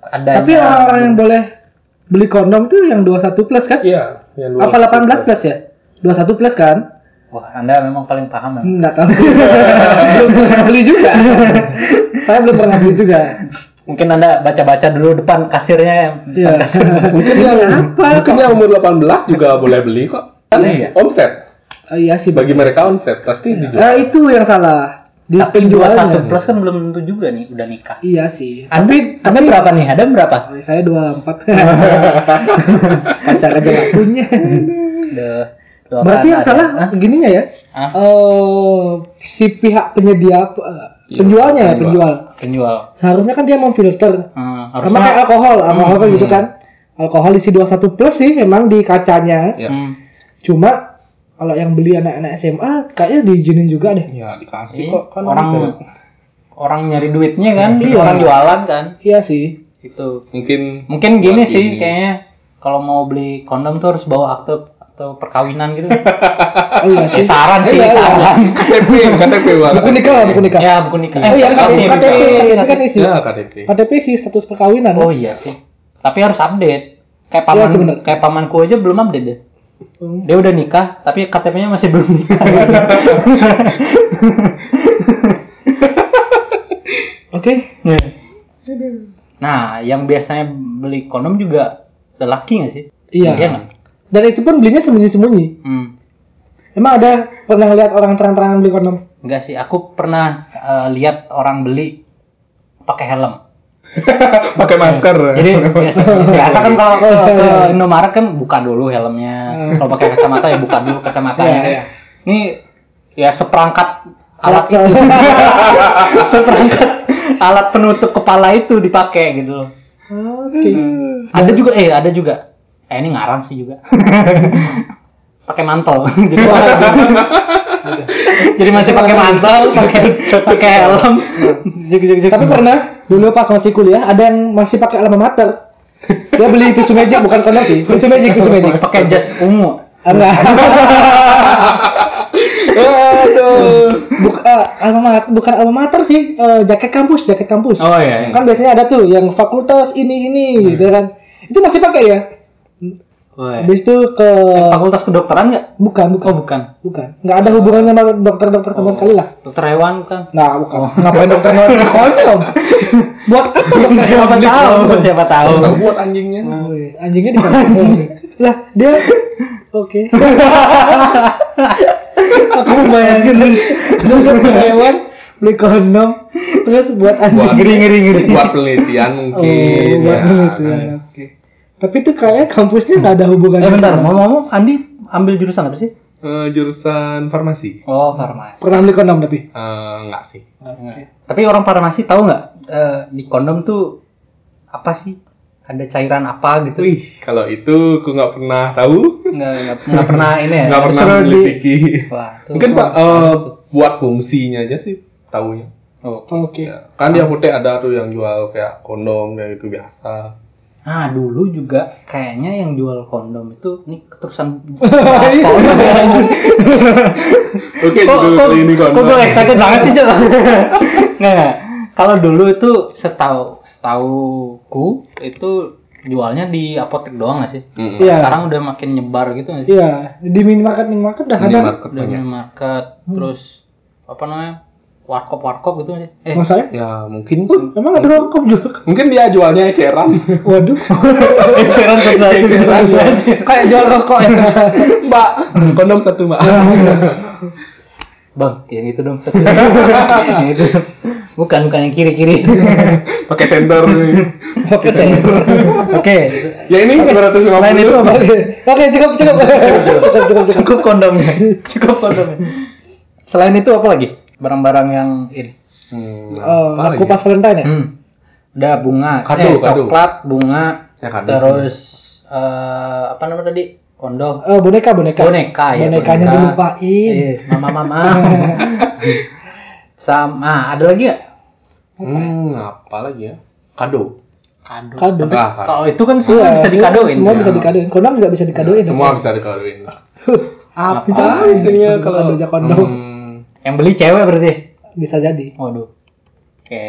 [SPEAKER 2] adanya
[SPEAKER 3] Tapi orang-orang yang boleh beli kondom tuh yang 21 plus kan?
[SPEAKER 2] Ya.
[SPEAKER 1] Iya, yang dua-
[SPEAKER 3] Apa 18 plus ya? 21 plus kan?
[SPEAKER 2] Wah, Anda memang paling paham ya.
[SPEAKER 3] Enggak tahu. belum pernah beli juga. Saya belum pernah beli juga.
[SPEAKER 2] Mungkin Anda baca-baca dulu depan kasirnya ya. yang
[SPEAKER 3] Iya.
[SPEAKER 1] Mungkin yang
[SPEAKER 3] Kenapa?
[SPEAKER 1] Mungkin yang umur 18 juga boleh beli kok. Kan
[SPEAKER 2] Iya.
[SPEAKER 1] omset.
[SPEAKER 3] Oh, iya sih.
[SPEAKER 1] Bagi mereka omset pasti dijual.
[SPEAKER 3] Eh, itu yang salah. Di
[SPEAKER 2] Tapi
[SPEAKER 3] penjualnya.
[SPEAKER 2] 21 plus kan belum tentu juga nih udah nikah.
[SPEAKER 3] Iya sih.
[SPEAKER 2] Anda, Anda berapa nih? Ada berapa?
[SPEAKER 3] Oh, Saya 24. Pacar aja nggak punya.
[SPEAKER 2] Duh, dua
[SPEAKER 3] Berarti yang
[SPEAKER 2] kanan
[SPEAKER 3] salah
[SPEAKER 2] ya. Hah?
[SPEAKER 3] begininya ya.
[SPEAKER 2] Hah?
[SPEAKER 3] Eh, si pihak penyedia eh, penjualnya ya,
[SPEAKER 1] penjual.
[SPEAKER 3] penjual.
[SPEAKER 2] Penjual.
[SPEAKER 3] Seharusnya kan dia memfilter.
[SPEAKER 2] Hmm,
[SPEAKER 3] Sama kayak alkohol, alkohol kan
[SPEAKER 2] Hmm,
[SPEAKER 3] gitu
[SPEAKER 2] hmm.
[SPEAKER 3] kan. Alkohol isi 21 plus sih emang di kacanya.
[SPEAKER 1] Ya.
[SPEAKER 2] Hmm.
[SPEAKER 3] Cuma kalau yang beli anak-anak SMA kayaknya diizinin juga deh.
[SPEAKER 1] Ya, dikasih
[SPEAKER 2] Iya,
[SPEAKER 1] kok kan
[SPEAKER 2] orang
[SPEAKER 1] omset.
[SPEAKER 2] orang nyari duitnya kan,
[SPEAKER 3] Iya.
[SPEAKER 2] orang jualan kan.
[SPEAKER 3] Iya sih.
[SPEAKER 2] Itu
[SPEAKER 1] Mungkin
[SPEAKER 2] Mungkin gini
[SPEAKER 1] Buat
[SPEAKER 2] sih
[SPEAKER 1] ini.
[SPEAKER 2] kayaknya kalau mau beli kondom tuh harus bawa akte atau perkawinan gitu.
[SPEAKER 3] Oh, iya
[SPEAKER 2] ya
[SPEAKER 3] sih.
[SPEAKER 2] saran sih,
[SPEAKER 3] Iya, iya.
[SPEAKER 2] saran.
[SPEAKER 1] KTP, KTP banget.
[SPEAKER 3] Buku nikah lah, buku nikah.
[SPEAKER 2] Ya, buku nikah.
[SPEAKER 3] Oh iya, KTP, KTP, kan isi.
[SPEAKER 1] Ya, KTP.
[SPEAKER 3] KTP sih status perkawinan.
[SPEAKER 2] Oh iya sih. Tapi harus update. Kayak
[SPEAKER 3] Iya,
[SPEAKER 2] paman
[SPEAKER 3] sebener.
[SPEAKER 2] kayak pamanku aja belum update deh.
[SPEAKER 3] Hmm.
[SPEAKER 2] Dia udah nikah, tapi KTP-nya masih belum nikah.
[SPEAKER 3] Oke.
[SPEAKER 2] Ya. nah, yang biasanya beli kondom juga lelaki nggak sih? Iya
[SPEAKER 3] Iya.
[SPEAKER 2] nggak?
[SPEAKER 3] Dan itu pun belinya sembunyi-sembunyi.
[SPEAKER 2] Hmm.
[SPEAKER 3] Emang ada pernah lihat orang terang-terangan beli kondom?
[SPEAKER 2] Enggak sih, aku pernah eh, lihat orang beli pakai helm.
[SPEAKER 1] Pakai masker.
[SPEAKER 2] Jadi biasa, biasa kan kalau ke, ke
[SPEAKER 3] Iya.
[SPEAKER 2] Indomaret kan buka dulu helmnya.
[SPEAKER 3] Hmm.
[SPEAKER 2] Kalau pakai kacamata ya buka dulu kacamatanya.
[SPEAKER 3] Iya, iya.
[SPEAKER 2] Ini ya seperangkat alat
[SPEAKER 3] Alat-
[SPEAKER 2] itu, seperangkat alat penutup kepala itu dipakai gitu.
[SPEAKER 3] Oke.
[SPEAKER 2] Ada juga eh ada juga eh ini ngarang sih juga pakai mantel jadi, jadi masih pakai mantel pakai pakai helm
[SPEAKER 3] Tapi pernah dulu pas masih kuliah ada yang masih pakai alma mater. Dia beli tisu magic bukan kondom sih. Tisu magic, tisu magic.
[SPEAKER 2] pakai jas ungu
[SPEAKER 3] Ah, Enggak. Aduh. Buk, eh, alma mater, bukan alma mater sih, eh, jaket kampus, jaket kampus.
[SPEAKER 2] oh iya, Hmm.
[SPEAKER 3] Kan biasanya ada tuh yang fakultas ini ini gitu kan. Itu masih pakai ya?
[SPEAKER 2] Oh, iya.
[SPEAKER 3] Habis itu ke
[SPEAKER 2] fakultas kedokteran nggak
[SPEAKER 3] bukan, bukan.
[SPEAKER 2] oh bukan
[SPEAKER 3] Bukan. Enggak ada hubungannya sama dokter-dokter sama
[SPEAKER 2] Oh.
[SPEAKER 3] sekali lah.
[SPEAKER 2] dokter hewan bukan
[SPEAKER 3] Nah, bukan. Ngapain dokter ngeluarin kondom? Buat apa dokter
[SPEAKER 2] siapa tahu siapa tahu
[SPEAKER 1] Tahu buat anjingnya.
[SPEAKER 3] Oh, yes. Anjingnya di mana? lah, dia Oke. Aku bayangin dulu hewan beli kondom terus buat anjing.
[SPEAKER 1] Buat
[SPEAKER 2] ngeri ngeri ngeri
[SPEAKER 1] buat penelitian mungkin.
[SPEAKER 3] buat
[SPEAKER 1] ya,
[SPEAKER 3] penelitian,
[SPEAKER 1] kan.
[SPEAKER 3] oke. Tapi tuh kayaknya kampusnya nggak ada hubungannya.
[SPEAKER 2] eh bentar mau ngomong Andi ambil jurusan apa sih
[SPEAKER 1] Eh, jurusan farmasi.
[SPEAKER 2] oh farmasi
[SPEAKER 3] Pernah beli kondom tapi.
[SPEAKER 1] Eh, enggak sih.
[SPEAKER 2] tapi orang farmasi tahu nggak eh, di kondom tuh apa sih ada cairan apa gitu
[SPEAKER 1] Wih, kalau itu aku nggak pernah tahu.
[SPEAKER 2] nggak nggak- nggak pernah ini ya
[SPEAKER 1] Nggak pernah
[SPEAKER 2] disuruh di-
[SPEAKER 1] melitiki.
[SPEAKER 2] Wah, itu-
[SPEAKER 1] Mungkin Pak eh, buat fungsinya aja sih tahunya.
[SPEAKER 2] Oh.
[SPEAKER 3] Oke.
[SPEAKER 1] Ya, Kan di apotek ada tuh yang jual kayak kondom kayak gitu biasa.
[SPEAKER 2] Nah, dulu juga kayaknya yang jual kondom itu ini keterusan
[SPEAKER 1] Iya.
[SPEAKER 2] bahas kondom ya.
[SPEAKER 1] Oke,
[SPEAKER 2] Kok
[SPEAKER 1] judul
[SPEAKER 2] kok
[SPEAKER 1] kali ini
[SPEAKER 2] kok
[SPEAKER 1] kondom.
[SPEAKER 2] gue excited banget sih, Cok. Nah, kalau dulu itu setahu setauku itu jualnya di apotek doang gak sih?
[SPEAKER 1] Mm-mm.
[SPEAKER 3] Iya.
[SPEAKER 2] Sekarang udah makin nyebar gitu nggak sih?
[SPEAKER 3] Iya, di minimarket minimarket dah ada.
[SPEAKER 1] Minimarket
[SPEAKER 2] Udah
[SPEAKER 1] banyak.
[SPEAKER 2] minimarket, terus apa namanya? warkop-warkop gitu nggak sih? Eh,
[SPEAKER 3] Masalahnya?
[SPEAKER 1] Ya mungkin
[SPEAKER 3] Uh, emang ada rokok juga.
[SPEAKER 1] mungkin dia jualnya eceran. Iya,
[SPEAKER 3] Waduh.
[SPEAKER 2] Iya, eceran satu-satu.
[SPEAKER 3] Kayak jual rokok ya.
[SPEAKER 1] ya. Mbak, kondom satu, Mbak.
[SPEAKER 2] Bang, yang itu dong satu. yang itu. Bukan, bukan yang kiri-kiri.
[SPEAKER 1] Pakai senter.
[SPEAKER 2] Oke, saya. Oke.
[SPEAKER 1] ya ini 250.
[SPEAKER 2] Selain itu apa?
[SPEAKER 3] Oke, cukup cukup. cukup cukup. cukup.
[SPEAKER 2] Cukup kondomnya. Cukup kondomnya. Selain itu apa lagi? Barang-barang yang ini.
[SPEAKER 1] Hmm,
[SPEAKER 3] Oh,
[SPEAKER 1] apa lagi?
[SPEAKER 3] aku pas Valentine ya?
[SPEAKER 2] Hmm. Ada bunga,
[SPEAKER 1] Kado,
[SPEAKER 2] eh,
[SPEAKER 1] kado.
[SPEAKER 2] coklat, bunga,
[SPEAKER 1] Ya, kado
[SPEAKER 2] terus eh, apa namanya tadi? Kondom.
[SPEAKER 3] Eh, boneka, boneka.
[SPEAKER 2] Boneka ya.
[SPEAKER 3] Bonekanya
[SPEAKER 2] boneka.
[SPEAKER 3] dilupain.
[SPEAKER 2] Iya, mama-mama. Sama, ah, ada lagi nggak?
[SPEAKER 1] Hmm, apa lagi ya? Kado.
[SPEAKER 2] Kado.
[SPEAKER 3] Kado.
[SPEAKER 1] Ah, kado.
[SPEAKER 2] Kalau itu kan semua
[SPEAKER 3] Iya,
[SPEAKER 2] bisa
[SPEAKER 3] iya,
[SPEAKER 2] dikadoin.
[SPEAKER 3] Semua
[SPEAKER 2] Ya.
[SPEAKER 3] bisa dikadoin. Kondom juga bisa dikadoin.
[SPEAKER 1] Semua bisa dikadoin.
[SPEAKER 3] Apa
[SPEAKER 2] Bisa
[SPEAKER 1] Ah, isinya kalau
[SPEAKER 3] aja kondom
[SPEAKER 1] Hmm,
[SPEAKER 2] Yang beli cewek berarti.
[SPEAKER 3] bisa jadi.
[SPEAKER 2] Waduh. Oke.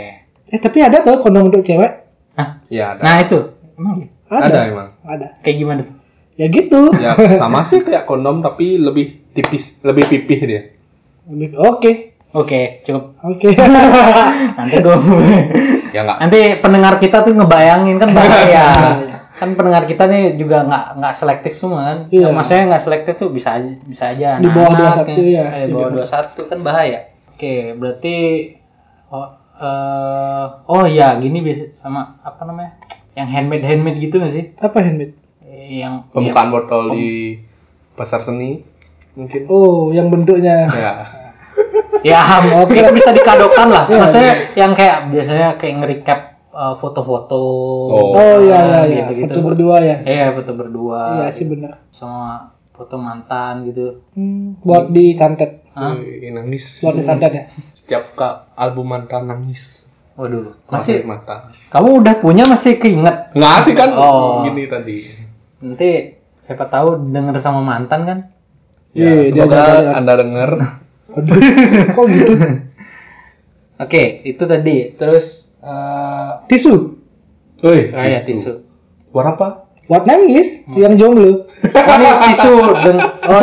[SPEAKER 3] Eh, tapi ada tau kondom untuk cewek?
[SPEAKER 2] Hah?
[SPEAKER 1] ya ada.
[SPEAKER 2] Nah itu. Emang ya?
[SPEAKER 3] Ada.
[SPEAKER 1] Ada emang.
[SPEAKER 3] Ada.
[SPEAKER 2] kayak gimana tuh?
[SPEAKER 3] Ya gitu.
[SPEAKER 1] Ya sama sih kayak kondom tapi lebih tipis, lebih pipih dia.
[SPEAKER 3] Lebih- Oke.
[SPEAKER 2] Oke, cukup.
[SPEAKER 3] Oke.
[SPEAKER 2] Nanti gua
[SPEAKER 1] Ya enggak.
[SPEAKER 2] Nanti pendengar kita tuh ngebayangin kan
[SPEAKER 3] Iya.
[SPEAKER 2] bahaya. kan pendengar kita nih juga nggak nggak selektif semua kan.
[SPEAKER 3] Iya.
[SPEAKER 2] Maksudnya nggak selektif tuh bisa aja bisa aja
[SPEAKER 3] Di bawah
[SPEAKER 2] anak-anak
[SPEAKER 3] 21 ya.
[SPEAKER 2] Eh, bawah 21 kan bahaya. Oke, berarti oh eh, oh ya gini biasa sama apa namanya? Yang handmade handmade gitu nggak sih?
[SPEAKER 3] Apa handmade?
[SPEAKER 2] Eh, Yang
[SPEAKER 3] Oh,
[SPEAKER 1] Pembukaan botol di pasar seni mungkin.
[SPEAKER 3] Oh, yang bentuknya.
[SPEAKER 1] Ya.
[SPEAKER 2] ya ham,
[SPEAKER 3] Oke.
[SPEAKER 2] itu bisa dikadokan lah
[SPEAKER 3] Iya,
[SPEAKER 2] maksudnya yang kayak biasanya kayak nge-recap uh, foto-foto
[SPEAKER 1] Oh.
[SPEAKER 3] Oh, iya iya iya.
[SPEAKER 2] Gitu-gitu.
[SPEAKER 3] Foto berdua ya.
[SPEAKER 2] iya foto berdua
[SPEAKER 3] Iya sih bener.
[SPEAKER 2] sama foto mantan gitu
[SPEAKER 3] Hmm, buat di santet.
[SPEAKER 2] Hah?
[SPEAKER 1] Wih, nangis.
[SPEAKER 3] Buat di santet ya.
[SPEAKER 1] Setiap kak album manta nangis.
[SPEAKER 2] waduh
[SPEAKER 1] Masih
[SPEAKER 2] masih
[SPEAKER 1] mata.
[SPEAKER 2] kamu udah punya masih keinget
[SPEAKER 1] Enggak sih kan
[SPEAKER 2] Oh.
[SPEAKER 1] gini tadi.
[SPEAKER 2] nanti siapa tahu denger sama mantan kan
[SPEAKER 1] Ya,
[SPEAKER 3] Iya, dia jaga-jaga.
[SPEAKER 1] semoga Anda dengar.
[SPEAKER 3] Aduh, kok gitu?
[SPEAKER 2] oke itu tadi terus eh
[SPEAKER 3] Tisu.
[SPEAKER 1] Wih,
[SPEAKER 2] saya Oh, iya, tisu
[SPEAKER 1] Buat apa?
[SPEAKER 3] Buat nangis yang jomblo.
[SPEAKER 2] oh, ini tisu dengan oh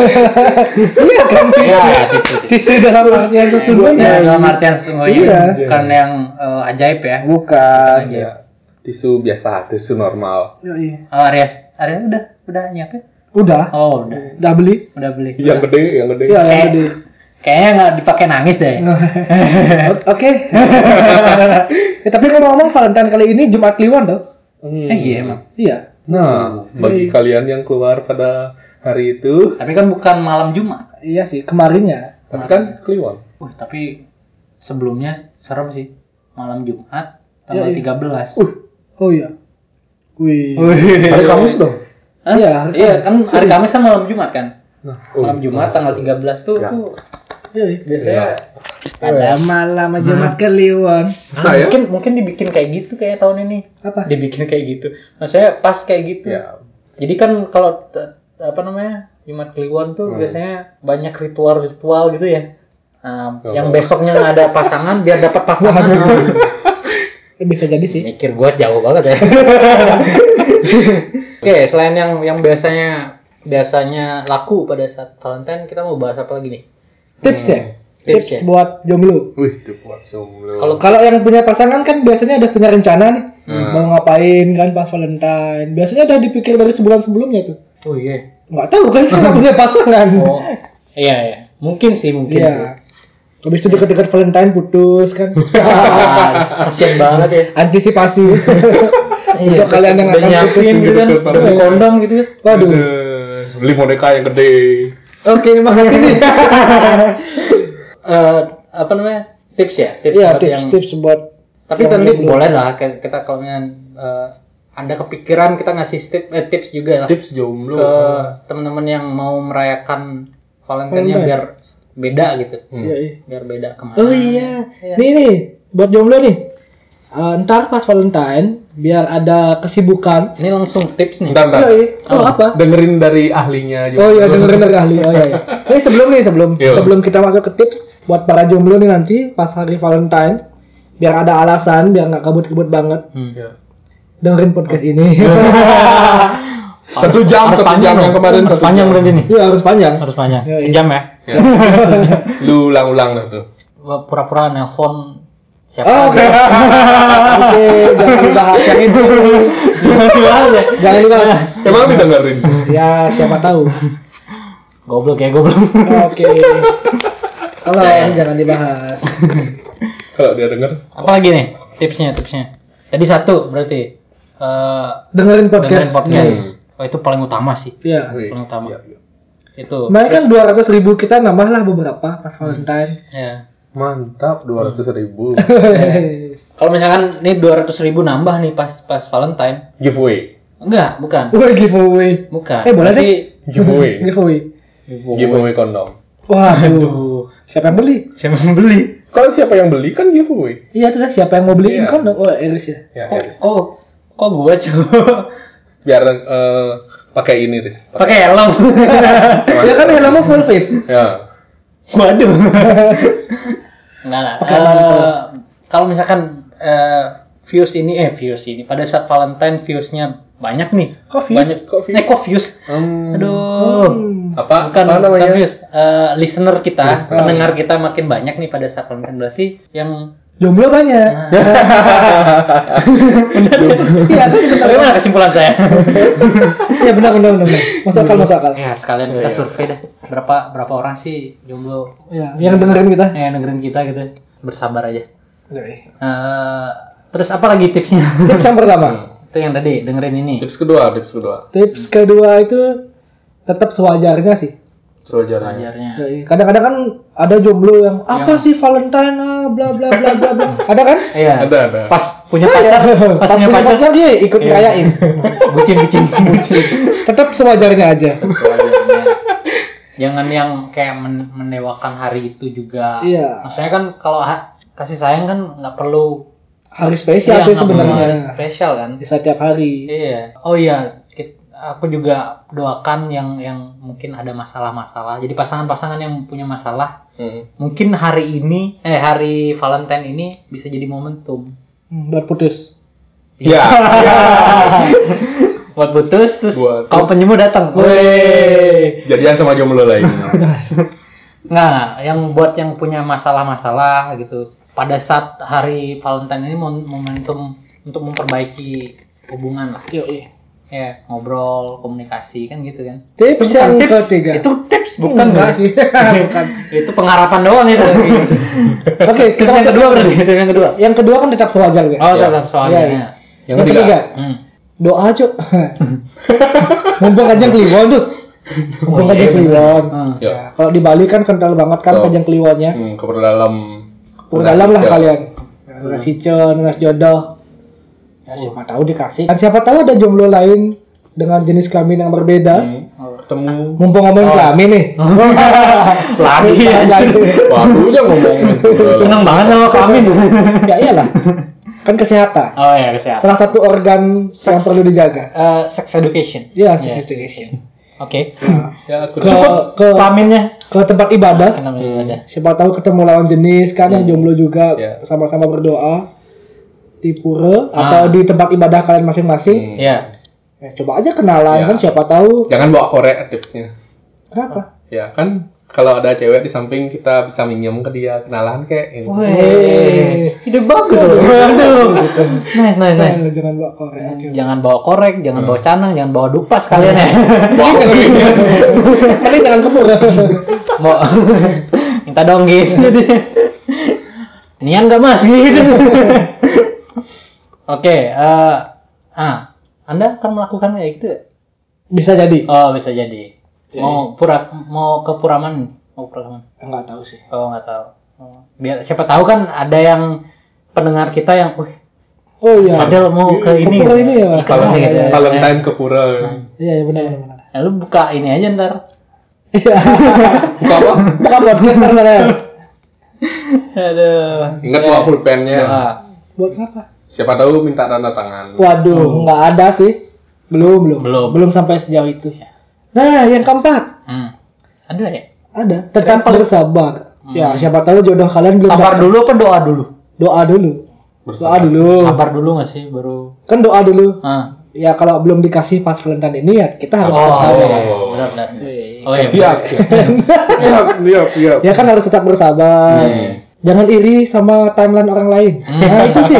[SPEAKER 3] Iya kan?
[SPEAKER 2] ya tisu, tisu.
[SPEAKER 3] Tisu dalam artian
[SPEAKER 2] Ya,
[SPEAKER 3] sesungguhnya.
[SPEAKER 2] dalam artian sesungguhnya
[SPEAKER 3] Oh Iya.
[SPEAKER 2] bukan yang eh, ajaib ya
[SPEAKER 3] Bukan.
[SPEAKER 1] Ya, tisu biasa, tisu normal.
[SPEAKER 3] Yoi.
[SPEAKER 2] Oh, Aries, Aries udah udah nyiapin?
[SPEAKER 3] Udah,
[SPEAKER 2] Oh, udah.
[SPEAKER 3] udah beli.
[SPEAKER 2] Udah beli.
[SPEAKER 1] Yang gede, yang gede.
[SPEAKER 3] Iya, yang
[SPEAKER 2] Eh.
[SPEAKER 3] gede.
[SPEAKER 2] Kayaknya nggak dipakai nangis deh.
[SPEAKER 3] Iya. O- Oh, Oke. Ya, tapi ngomong-ngomong Valentine kali ini Jumat Kliwon dong.
[SPEAKER 1] Hmm.
[SPEAKER 2] Eh, iya emang.
[SPEAKER 3] Iya.
[SPEAKER 1] Nah, bagi kalian yang keluar pada hari itu,
[SPEAKER 2] Tapi kan bukan malam Jumat.
[SPEAKER 3] Iya sih, kemarinnya.
[SPEAKER 1] tapi kan kliwon.
[SPEAKER 2] Wih, tapi sebelumnya serem sih. Malam Jumat tanggal
[SPEAKER 3] Iya, iya.
[SPEAKER 2] 13.
[SPEAKER 3] Uh. Oh iya. Wih.
[SPEAKER 1] Hari Kamis dong.
[SPEAKER 2] Hah?
[SPEAKER 3] Iya, harus
[SPEAKER 2] iya
[SPEAKER 3] Kamis.
[SPEAKER 2] kan hari
[SPEAKER 1] Serius.
[SPEAKER 2] Kamis sama malam Jumat kan?
[SPEAKER 1] Nah,
[SPEAKER 2] Malam Jumat tanggal 13 tuh,
[SPEAKER 1] Ya.
[SPEAKER 2] tuh
[SPEAKER 3] Yoi.
[SPEAKER 1] Iya.
[SPEAKER 2] biasanya
[SPEAKER 3] Iya, Pada malam Jumat Kliwon.
[SPEAKER 2] Ah,
[SPEAKER 1] saya
[SPEAKER 2] mungkin mungkin dibikin kayak gitu kayak tahun ini.
[SPEAKER 3] Apa?
[SPEAKER 2] Dibikin kayak gitu. Maksudnya pas kayak gitu.
[SPEAKER 1] ya
[SPEAKER 2] Jadi kan kalau t- apa namanya? Jumat Kliwon tuh
[SPEAKER 1] Hmm.
[SPEAKER 2] biasanya banyak ritual-ritual gitu ya. Nah,
[SPEAKER 1] Oh.
[SPEAKER 2] yang besoknya nggak ada pasangan biar dapat pasangan.
[SPEAKER 3] Eh, Bisa jadi sih.
[SPEAKER 2] Mikir gua jauh banget ya. Oke, selain yang yang biasanya biasanya laku pada saat Valentine, kita mau bahas apa lagi nih?
[SPEAKER 3] Tips ya.
[SPEAKER 2] Tips
[SPEAKER 3] Tips,
[SPEAKER 2] ya.
[SPEAKER 3] buat jomblo.
[SPEAKER 1] wih tuh buat jomblo
[SPEAKER 2] Kalau-
[SPEAKER 3] Kalau yang punya pasangan kan biasanya udah punya rencana nih.
[SPEAKER 1] Hmm.
[SPEAKER 3] Mau ngapain kan pas Valentine. Biasanya udah dipikir dari sebulan sebelumnya tuh.
[SPEAKER 2] Oh iya.
[SPEAKER 3] Nggak tahu kan sih nggak punya pasangan.
[SPEAKER 2] Oh iya ya. Mungkin sih mungkin. sih.
[SPEAKER 3] Iya. Habis itu deket-deket Valentine putus kan.
[SPEAKER 2] Ah, Kasian banget ya.
[SPEAKER 3] Antisipasi. Untuk Iya, kalian yang
[SPEAKER 2] Iya, udah
[SPEAKER 3] akan
[SPEAKER 2] nyiapin
[SPEAKER 1] putus
[SPEAKER 2] gitu kan,
[SPEAKER 1] gitu,
[SPEAKER 2] udah beli
[SPEAKER 1] sampai-
[SPEAKER 2] kondom gitu.
[SPEAKER 3] ya.
[SPEAKER 2] kan.
[SPEAKER 3] Waduh.
[SPEAKER 1] Aduh, beli boneka yang gede
[SPEAKER 2] Oke, makasih nih. Eh, apa namanya? Tips ya, tips
[SPEAKER 3] Iya
[SPEAKER 2] buat yang
[SPEAKER 3] tips-tips buat
[SPEAKER 2] Tapi
[SPEAKER 3] Yang
[SPEAKER 2] nanti
[SPEAKER 3] belum-
[SPEAKER 2] boleh lah kita, kita kalau misalnya eh, Anda kepikiran kita ngasih tips, eh, tips juga
[SPEAKER 3] Nah.
[SPEAKER 2] lah
[SPEAKER 1] tips jomblo
[SPEAKER 2] ke teman-teman yang mau merayakan Valentine-nya
[SPEAKER 3] Valentine.
[SPEAKER 2] biar beda gitu.
[SPEAKER 1] Hmm.
[SPEAKER 3] Iya, iya.
[SPEAKER 2] Biar beda kemana.
[SPEAKER 3] Oh iya. Nih nih buat jomblo nih. Eh, ntar pas Valentine biar ada kesibukan.
[SPEAKER 2] Ini langsung tips nih.
[SPEAKER 1] Bentar, bentar.
[SPEAKER 3] Yoi. Oh,
[SPEAKER 2] Oh.
[SPEAKER 3] apa?
[SPEAKER 1] dengerin dari ahlinya
[SPEAKER 3] Oh iya
[SPEAKER 1] jomblo.
[SPEAKER 3] dengerin dari ahli. Oh iya. iya. Ini sebelum nih sebelum
[SPEAKER 1] Yo.
[SPEAKER 3] sebelum kita masuk ke tips buat para jomblo nih nanti pas hari Valentine biar ada alasan biar nggak kabut-kabut banget
[SPEAKER 2] Hmm.
[SPEAKER 1] Iya.
[SPEAKER 3] dengerin podcast ini.
[SPEAKER 1] satu jam satu jam yang kemarin satu
[SPEAKER 2] panjang
[SPEAKER 1] jam.
[SPEAKER 2] berarti nih.
[SPEAKER 3] Iya harus panjang.
[SPEAKER 2] Harus panjang.
[SPEAKER 3] Iya, iya.
[SPEAKER 2] Sejam ya.
[SPEAKER 1] Ya. lu ulang-ulang dah tuh
[SPEAKER 2] Pura-pura nelpon
[SPEAKER 3] Oh,
[SPEAKER 2] siapa
[SPEAKER 3] Oke.
[SPEAKER 2] aja.
[SPEAKER 3] Oke, jangan dibahas yang itu. Jangan dibahas.
[SPEAKER 1] emang didengerin
[SPEAKER 3] Ya, siapa tahu.
[SPEAKER 2] Goblok ya, goblok.
[SPEAKER 3] Oke. Tolong jangan dibahas.
[SPEAKER 1] kalau dia denger
[SPEAKER 2] Apalagi nih tipsnya tipsnya. Tadi satu berarti eh
[SPEAKER 3] Dengerin podcast.
[SPEAKER 2] dengerin podcast.
[SPEAKER 1] Hmm.
[SPEAKER 2] Oh itu paling utama sih.
[SPEAKER 3] Iya.
[SPEAKER 1] Wih,
[SPEAKER 2] Yang utama.
[SPEAKER 1] siap, siap.
[SPEAKER 2] Itu.
[SPEAKER 3] Kemarin kan 200 ribu kita nambah lah beberapa pas Valentine.
[SPEAKER 2] Ya.
[SPEAKER 1] mantap dua ratus ribu
[SPEAKER 2] Kalau misalkan ini 200 ribu nambah nih pas pas Valentine.
[SPEAKER 1] giveaway
[SPEAKER 2] Enggak, bukan.
[SPEAKER 3] Woi giveaway. Uh.
[SPEAKER 2] Bukan.
[SPEAKER 3] Eh, boleh
[SPEAKER 2] Tapi- Iya,
[SPEAKER 3] deh.
[SPEAKER 1] giveaway
[SPEAKER 3] Giveaway.
[SPEAKER 1] giveaway kondom
[SPEAKER 3] Waduh.
[SPEAKER 2] Aduh.
[SPEAKER 3] Siapa yang beli?
[SPEAKER 2] Siapa yang beli?
[SPEAKER 1] kalau siapa yang beli kan giveaway
[SPEAKER 3] Iya tuh dah, siapa yang mau
[SPEAKER 1] Iya.
[SPEAKER 3] beliin kondom? Oh, Eris ya.
[SPEAKER 1] ya
[SPEAKER 2] Kok
[SPEAKER 1] Riz.
[SPEAKER 2] kok Oh, kok gua coba
[SPEAKER 1] biar eh, pakai ini Riz
[SPEAKER 2] pakai helm.
[SPEAKER 3] Ya kan helmnya full face.
[SPEAKER 1] ya
[SPEAKER 2] Waduh. Enggak lah.
[SPEAKER 3] Pakai
[SPEAKER 2] Eh,
[SPEAKER 3] mantel.
[SPEAKER 2] kalau misalkan eh, views ini eh views ini pada saat Valentine viewsnya banyak nih.
[SPEAKER 3] Kok views?
[SPEAKER 2] Banyak
[SPEAKER 1] Kok views?
[SPEAKER 2] Eh, kok views?
[SPEAKER 1] Hmm.
[SPEAKER 2] Aduh.
[SPEAKER 3] Hmm.
[SPEAKER 1] apa
[SPEAKER 2] Bukan,
[SPEAKER 1] apa
[SPEAKER 2] bukan
[SPEAKER 1] namanya
[SPEAKER 2] views. Eh, listener kita, pendengar kita makin banyak nih pada saat Valentine berarti yang
[SPEAKER 3] Jomblo banyak. Iya, kan benar.
[SPEAKER 2] Bagaimana kesimpulan saya?
[SPEAKER 3] Iya benar benar benar. benar. Masuk akal masuk akal.
[SPEAKER 2] ya, sekalian kita survei dah. Berapa berapa orang sih jomblo
[SPEAKER 3] Iya, yang dengerin kita.
[SPEAKER 2] eh Ya, dengerin kita gitu. Bersabar aja.
[SPEAKER 3] Yoi.
[SPEAKER 2] Eh, terus apa lagi tipsnya?
[SPEAKER 3] Tips yang pertama.
[SPEAKER 2] itu yang tadi dengerin ini.
[SPEAKER 1] Hmm, tips kedua tips kedua
[SPEAKER 3] Tips kedua itu tetap sewajarnya sih.
[SPEAKER 1] sewajarnya
[SPEAKER 2] Pelajarnya.
[SPEAKER 3] Yoi. Kadang-kadang kan ada jomblo yang apa
[SPEAKER 2] Ya.
[SPEAKER 3] sih Valentine ah, bla bla bla bla bla. Ada kan?
[SPEAKER 2] Iya.
[SPEAKER 1] ada ada
[SPEAKER 2] Pas punya
[SPEAKER 3] Saya-
[SPEAKER 2] pacar, pas punya pacar. iya.
[SPEAKER 3] dia ikut ngerayain.
[SPEAKER 2] Bucin, bucin, bucin.
[SPEAKER 3] Tetap sewajarnya aja.
[SPEAKER 2] Pelajarnya. Jangan yang kayak men- mendewakan hari itu juga.
[SPEAKER 3] Iya.
[SPEAKER 2] Maksudnya kan kalau ha- kasih sayang kan nggak perlu
[SPEAKER 3] Hari spesial
[SPEAKER 2] Iya,
[SPEAKER 3] sih
[SPEAKER 2] nggak perlu hari
[SPEAKER 3] sebenarnya.
[SPEAKER 2] spesial kan.
[SPEAKER 3] Bisa tiap hari.
[SPEAKER 2] Iya. Oh iya, Ki- aku juga doakan yang yang mungkin ada masalah-masalah. Jadi pasangan-pasangan yang punya masalah,
[SPEAKER 1] Hmm.
[SPEAKER 2] mungkin hari ini eh hari Valentine ini bisa jadi momentum.
[SPEAKER 3] Hmm, Buat putus.
[SPEAKER 2] Iya.
[SPEAKER 1] ya
[SPEAKER 2] buat putus terus
[SPEAKER 1] Buat
[SPEAKER 2] kau penyembuh datang.
[SPEAKER 3] Oh, iya,
[SPEAKER 2] Woi.
[SPEAKER 1] jadian sama jomblo lain
[SPEAKER 2] Nah, yang buat yang punya masalah-masalah gitu. Pada saat hari Valentine ini mon- momentum untuk memperbaiki hubungan lah.
[SPEAKER 3] Yoi.
[SPEAKER 2] Ya, ngobrol, komunikasi kan gitu kan.
[SPEAKER 3] Tips
[SPEAKER 2] bukan
[SPEAKER 3] yang
[SPEAKER 2] tips,
[SPEAKER 3] ketiga.
[SPEAKER 2] Itu tips bukan
[SPEAKER 3] Enggak
[SPEAKER 2] guys.
[SPEAKER 3] sih. Bukan.
[SPEAKER 2] itu pengharapan doang itu.
[SPEAKER 3] Oke,
[SPEAKER 2] Tips
[SPEAKER 3] kita
[SPEAKER 2] yang
[SPEAKER 3] masuk-
[SPEAKER 2] kedua berarti, tips yang kedua.
[SPEAKER 3] Yang kedua kan tetap sewajarnya.
[SPEAKER 2] Oh,
[SPEAKER 1] Ya.
[SPEAKER 2] tetap soalnya.
[SPEAKER 3] Iya, iya.
[SPEAKER 1] Yang
[SPEAKER 3] Yang
[SPEAKER 1] ketiga.
[SPEAKER 3] ketiga,
[SPEAKER 2] Hmm.
[SPEAKER 3] doa cuk. Mumpung kajang kliwon tuh. Mumpung kajang kliwon.
[SPEAKER 2] Hmm.
[SPEAKER 1] ya
[SPEAKER 3] Kalau di Bali kan kental banget kan
[SPEAKER 1] Oh.
[SPEAKER 3] kajang kliwonnya.
[SPEAKER 1] hmm, ke dalam
[SPEAKER 3] Perdalam lah
[SPEAKER 1] Siap.
[SPEAKER 3] kalian. Nasi cen, nasi jodoh. Ya, siapa tahu dikasih. Kan siapa tahu ada jomblo lain dengan jenis kelamin yang berbeda.
[SPEAKER 1] Hmm, ketemu
[SPEAKER 3] Mumpung ngomongin
[SPEAKER 2] Oh.
[SPEAKER 3] kelamin nih.
[SPEAKER 2] Lagi ya.
[SPEAKER 1] barunya ngomongin
[SPEAKER 2] Seneng banget sama kami.
[SPEAKER 3] ya iyalah. Kan kesehatan.
[SPEAKER 2] Oh ya kesehatan.
[SPEAKER 3] Salah satu organ yang perlu dijaga.
[SPEAKER 2] Eh, sex education.
[SPEAKER 3] Iya,
[SPEAKER 2] Iya.
[SPEAKER 3] sophistication.
[SPEAKER 2] Oke.
[SPEAKER 1] ya aku
[SPEAKER 3] Ke ke
[SPEAKER 2] Kelaminnya.
[SPEAKER 3] ke tempat ibadah.
[SPEAKER 2] Kenapa
[SPEAKER 1] Hmm.
[SPEAKER 2] ada?
[SPEAKER 3] Siapa tahu ketemu lawan jenis kan yang jomblo juga
[SPEAKER 1] Iya.
[SPEAKER 3] sama-sama berdoa di pura
[SPEAKER 2] Ah.
[SPEAKER 3] atau di tempat ibadah kalian
[SPEAKER 1] Hmm.
[SPEAKER 3] masing-masing.
[SPEAKER 2] Ya.
[SPEAKER 3] Ya, coba aja kenalan
[SPEAKER 1] Iya.
[SPEAKER 3] kan siapa tahu
[SPEAKER 1] jangan bawa korek tipsnya
[SPEAKER 3] kenapa?
[SPEAKER 1] ya kan kalau ada cewek di samping kita bisa minjem ke dia kenalan kayak ini.
[SPEAKER 2] Wih, ide bagus loh. Aduh. Nice, nice, nice.
[SPEAKER 3] Eh, jangan bawa korek. Oke.
[SPEAKER 2] Jangan bawa korek, jangan bawa canang, jangan bawa dupas kalian ya.
[SPEAKER 3] iya.
[SPEAKER 1] Wah,
[SPEAKER 3] Tapi jangan kemur.
[SPEAKER 2] Mau minta dong gitu. Nian gak mas gitu. Oke, eh, ah, Anda akan melakukan kayak gitu? ya?
[SPEAKER 3] Bisa jadi.
[SPEAKER 2] Oh bisa jadi. Mau pura, mau ke Puraman, mau Puraman.
[SPEAKER 3] Enggak tahu sih.
[SPEAKER 2] Oh nggak tahu. Oh, Biar siapa tahu kan ada yang pendengar kita yang, wih,
[SPEAKER 3] Oh iya.
[SPEAKER 2] padahal mau ke ini.
[SPEAKER 3] Pura ini ya.
[SPEAKER 2] Ke Pura gitu ya.
[SPEAKER 1] Valentine ke pura
[SPEAKER 3] Iya, iya benar benar. benar.
[SPEAKER 2] Ya, lu buka ini aja ntar.
[SPEAKER 3] Iya.
[SPEAKER 1] buka apa
[SPEAKER 3] Bukan podcast ntar, ntar, ya.
[SPEAKER 2] Aduh. Ya. Ah.
[SPEAKER 1] ingat
[SPEAKER 3] Iya.
[SPEAKER 1] Ya. bawa pulpennya
[SPEAKER 2] Doa.
[SPEAKER 3] Buat apa?
[SPEAKER 1] siapa tahu minta tanda tangan
[SPEAKER 3] Waduh, nggak ada sih. Belum, belum.
[SPEAKER 2] Belum. Ya.
[SPEAKER 3] sampai sejauh itu. Nah, yang keempat.
[SPEAKER 2] Hmm. Ada ya?
[SPEAKER 3] Ada. Tetap bersabar. Ya, siapa tahu jodoh kalian belum
[SPEAKER 2] Hmm. Sabar
[SPEAKER 3] datang.
[SPEAKER 2] dulu apa doa dulu?
[SPEAKER 3] Doa dulu. Doa
[SPEAKER 1] bersama
[SPEAKER 3] dulu.
[SPEAKER 2] Sabar dulu nggak sih baru?
[SPEAKER 3] Kan doa dulu.
[SPEAKER 2] Ah.
[SPEAKER 3] Ya, kalau belum dikasih pas Valentine ini ya kita harus
[SPEAKER 2] Oh,
[SPEAKER 3] bersabar.
[SPEAKER 2] iya, benar benar. Oh iya.
[SPEAKER 1] siap siap siap siap siap
[SPEAKER 3] Ya kan harus tetap bersabar.
[SPEAKER 1] Hmm.
[SPEAKER 3] Jangan iri sama timeline orang lain. Nah, itu sih.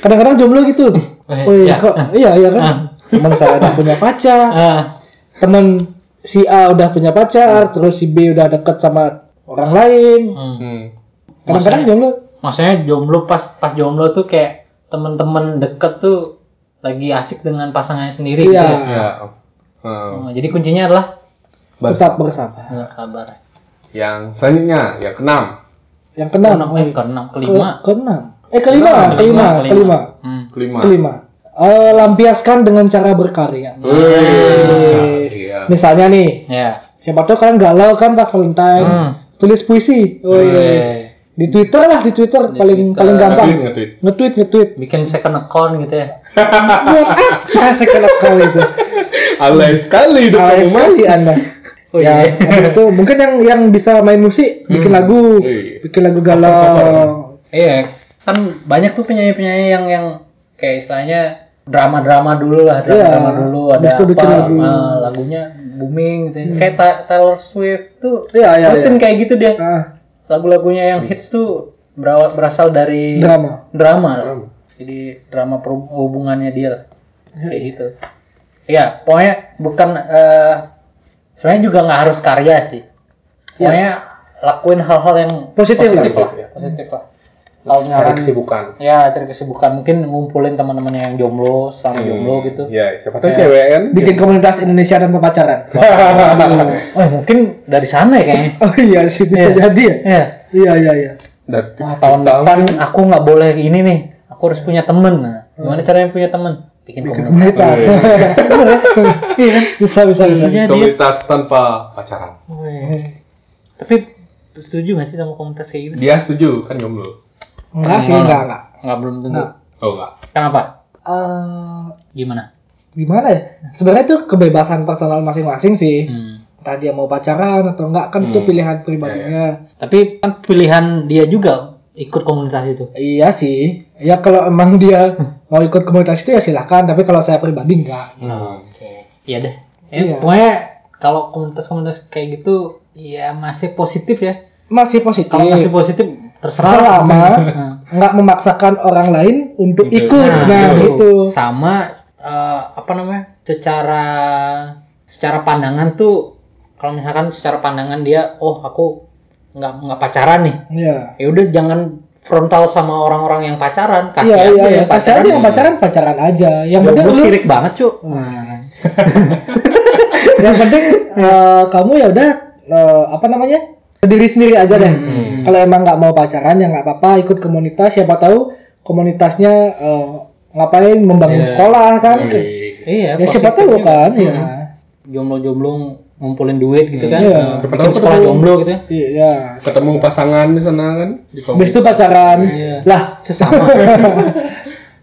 [SPEAKER 3] Kadang-kadang jomblo gitu.
[SPEAKER 2] Hmm. Eh,
[SPEAKER 3] Oh
[SPEAKER 2] iya.
[SPEAKER 3] iya, kok iya iya kan.
[SPEAKER 2] Ah.
[SPEAKER 3] Teman saya udah punya pacar.
[SPEAKER 2] Ah.
[SPEAKER 3] temen si A udah punya pacar, terus si B udah deket sama orang lain.
[SPEAKER 2] Hmm.
[SPEAKER 1] Hmm.
[SPEAKER 3] Kadang-kadang jomblo.
[SPEAKER 2] Maksudnya jomblo pas pas jomblo tuh kayak temen-temen deket tuh lagi asik dengan pasangannya sendiri gitu ya.
[SPEAKER 3] Iya,
[SPEAKER 1] ya Hmm.
[SPEAKER 2] Oh, jadi kuncinya adalah
[SPEAKER 3] tetap bersama.
[SPEAKER 2] kabar.
[SPEAKER 1] yang selanjutnya yang keenam
[SPEAKER 3] Yang
[SPEAKER 2] Enam,
[SPEAKER 3] keenam,
[SPEAKER 2] eh, keenam, kelima.
[SPEAKER 3] Ke- keenam. Eh kelima,
[SPEAKER 1] Keenam,
[SPEAKER 3] kelima, kelima, kelima.
[SPEAKER 2] Hmm.
[SPEAKER 1] kelima
[SPEAKER 3] Eh, lampiaskan dengan cara berkarya.
[SPEAKER 1] Wih, iya.
[SPEAKER 3] Misalnya nih,
[SPEAKER 2] Ya.
[SPEAKER 3] siapa tahu kalian galau kan pas Valentine,
[SPEAKER 2] Hmm.
[SPEAKER 3] tulis puisi. Wih.
[SPEAKER 2] Eh,
[SPEAKER 3] Di Twitter lah, di Twitter paling
[SPEAKER 2] Twitter.
[SPEAKER 3] paling gampang.
[SPEAKER 1] Nge-tweet, nge-tweet.
[SPEAKER 3] Nge-tweet, nge-tweet.
[SPEAKER 2] Bikin second account gitu ya.
[SPEAKER 3] Buat apa second account itu?
[SPEAKER 1] alay sekali hidup
[SPEAKER 3] Alay
[SPEAKER 1] kamu mas
[SPEAKER 3] Ah, sekali Anda.
[SPEAKER 2] Oh,
[SPEAKER 3] ya,
[SPEAKER 2] iya.
[SPEAKER 3] habis itu mungkin yang yang bisa main musik bikin lagu,
[SPEAKER 1] Iya.
[SPEAKER 3] bikin lagu galau.
[SPEAKER 2] Iya, kan banyak tuh penyanyi-penyanyi yang yang kayak istilahnya drama-drama dulu lah, drama-drama
[SPEAKER 3] Iya.
[SPEAKER 2] dulu
[SPEAKER 3] Habis
[SPEAKER 2] ada
[SPEAKER 3] itu
[SPEAKER 2] apa,
[SPEAKER 3] bikin lagu. Hmm.
[SPEAKER 2] ah, lagunya booming gitu. ya. Kayak Ta- Taylor Swift tuh
[SPEAKER 3] Iya, iya,
[SPEAKER 2] rutin
[SPEAKER 3] iya.
[SPEAKER 2] kayak gitu dia.
[SPEAKER 3] Ah,
[SPEAKER 2] Lagu-lagunya yang hits tuh beraw- berasal dari
[SPEAKER 3] drama.
[SPEAKER 2] drama. Jadi drama perhub- hubungannya dia lah. Kayak gitu. Iya, pokoknya bukan eh, sebenarnya juga nggak harus karya sih. Pokoknya lakuin hal-hal yang
[SPEAKER 3] Positif lah.
[SPEAKER 2] Iya. lah. Iya. Hmm. Positif lah.
[SPEAKER 1] cari
[SPEAKER 2] Kalau misalkan-
[SPEAKER 1] kesibukan
[SPEAKER 2] Ya, cari kesibukan. Mungkin ngumpulin teman-teman yang jomblo, sama jomblo
[SPEAKER 1] Hmm.
[SPEAKER 2] gitu.
[SPEAKER 1] ya siapa tahu cewek kan
[SPEAKER 3] Bikin komunitas Indonesia dan pacaran.
[SPEAKER 2] Oh, mungkin dari sana ya kayaknya.
[SPEAKER 3] Oh iya sih bisa
[SPEAKER 2] Iya.
[SPEAKER 3] jadi ya.
[SPEAKER 2] Iya.
[SPEAKER 3] Iya iya iya. Kan,
[SPEAKER 1] Dan
[SPEAKER 2] Wah, tahun depan aku nggak boleh ini nih. Aku harus punya temen. Nah, gimana caranya punya temen? Bikin
[SPEAKER 3] Komunitas.
[SPEAKER 2] komunitas.
[SPEAKER 1] Iya.
[SPEAKER 3] Bener ya? Bisa bisa bisa.
[SPEAKER 2] Iya, dia-
[SPEAKER 1] komunitas tanpa pacaran
[SPEAKER 2] Tapi setuju nggak sih sama komunitas kayak gitu?
[SPEAKER 1] dia setuju kan jomblo
[SPEAKER 3] Enggak sih enggak enggak.
[SPEAKER 2] Nggak belum tentu.
[SPEAKER 3] Nggak.
[SPEAKER 1] oh enggak
[SPEAKER 2] Kenapa?
[SPEAKER 3] Eh,
[SPEAKER 2] Gimana?
[SPEAKER 3] gimana ya? Sebenarnya itu kebebasan personal masing-masing sih.
[SPEAKER 2] Hmm.
[SPEAKER 3] Entah dia mau pacaran atau enggak kan itu
[SPEAKER 1] Hmm.
[SPEAKER 3] pilihan pribadinya.
[SPEAKER 2] Tapi kan pilihan dia juga ikut komunitas itu.
[SPEAKER 3] Iya sih. Ya kalau emang dia mau ikut komunitas itu ya silahkan. Tapi kalau saya pribadi enggak.
[SPEAKER 2] Oke. Iya deh. Ya,
[SPEAKER 3] Iya.
[SPEAKER 2] Pokoknya kalau komunitas-komunitas kayak gitu ya masih positif ya.
[SPEAKER 3] Masih positif.
[SPEAKER 2] Kalau masih positif terserah.
[SPEAKER 3] Selama
[SPEAKER 2] Nah.
[SPEAKER 3] enggak memaksakan orang lain untuk
[SPEAKER 1] Gitu.
[SPEAKER 3] ikut. Nah,
[SPEAKER 2] itu.
[SPEAKER 3] itu.
[SPEAKER 2] sama eh, apa namanya? secara secara pandangan tuh kalau misalkan secara pandangan dia oh aku nggak nggak pacaran nih.
[SPEAKER 3] Iya.
[SPEAKER 2] Ya udah jangan frontal sama orang-orang yang pacaran, kasih
[SPEAKER 3] Iya,
[SPEAKER 2] aja
[SPEAKER 3] iya, iya.
[SPEAKER 2] yang pacaran.
[SPEAKER 3] Pacaran aja yang pacaran pacaran aja. Yang penting
[SPEAKER 2] Jomblo
[SPEAKER 3] lu
[SPEAKER 2] sirik banget, Cuk.
[SPEAKER 3] Nah. yang penting eh, kamu ya udah eh, apa namanya? Ke diri sendiri aja deh.
[SPEAKER 2] Hmm.
[SPEAKER 3] Kalau emang nggak mau pacaran ya nggak apa-apa ikut komunitas siapa tahu komunitasnya eh, ngapain membangun
[SPEAKER 2] Iya.
[SPEAKER 3] sekolah kan
[SPEAKER 2] Iya.
[SPEAKER 3] ya siapa tahu
[SPEAKER 2] positifnya.
[SPEAKER 3] kan ya
[SPEAKER 2] Hmm. Jomblo-jomblo ngumpulin duit gitu kan.
[SPEAKER 3] Iya.
[SPEAKER 2] Nah,
[SPEAKER 1] Siapa
[SPEAKER 2] bikin
[SPEAKER 1] tahu
[SPEAKER 2] sekolah
[SPEAKER 1] ketemu.
[SPEAKER 2] jomblo gitu ya.
[SPEAKER 3] iya
[SPEAKER 1] Ketemu pasangan di sana kan? Di
[SPEAKER 3] habis itu pacaran
[SPEAKER 2] Iya.
[SPEAKER 3] lah
[SPEAKER 2] Sesama.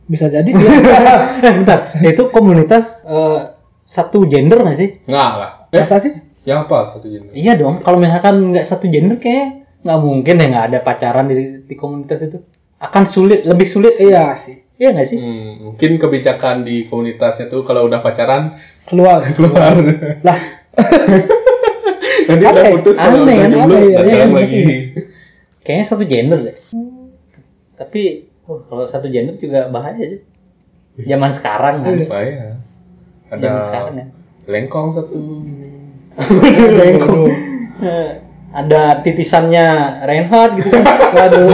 [SPEAKER 3] bisa jadi sih
[SPEAKER 2] Eh, Bentar, itu komunitas eh, satu gender nggak sih?
[SPEAKER 1] Enggak lah. Eh,
[SPEAKER 3] masa sih
[SPEAKER 1] ya apa satu gender?
[SPEAKER 2] Iya dong. Kalau misalkan nggak satu gender kayak nggak mungkin ya nggak ada pacaran di, di komunitas itu. Akan sulit, lebih sulit. sih.
[SPEAKER 3] iya sih
[SPEAKER 2] Iya nggak sih?
[SPEAKER 1] Hmm, mungkin kebijakan di komunitasnya tuh kalau udah pacaran
[SPEAKER 3] keluar
[SPEAKER 1] keluar.
[SPEAKER 3] lah
[SPEAKER 1] Nanti udah
[SPEAKER 3] Aneh,
[SPEAKER 1] putus kalau udah
[SPEAKER 2] aneh kan,
[SPEAKER 1] jomblo
[SPEAKER 3] aneh, iya,
[SPEAKER 1] pacaran
[SPEAKER 3] iya,
[SPEAKER 1] lagi.
[SPEAKER 2] Kayaknya satu gender deh. Tapi wah, kalau satu gender juga bahaya sih.
[SPEAKER 1] Iya.
[SPEAKER 2] Zaman sekarang kan.
[SPEAKER 1] Bahaya. ya? Ada
[SPEAKER 2] Zaman sekarang kan.
[SPEAKER 1] lengkong satu.
[SPEAKER 3] Waduh.
[SPEAKER 2] Eh, Ada titisannya Reinhardt gitu kan.
[SPEAKER 3] waduh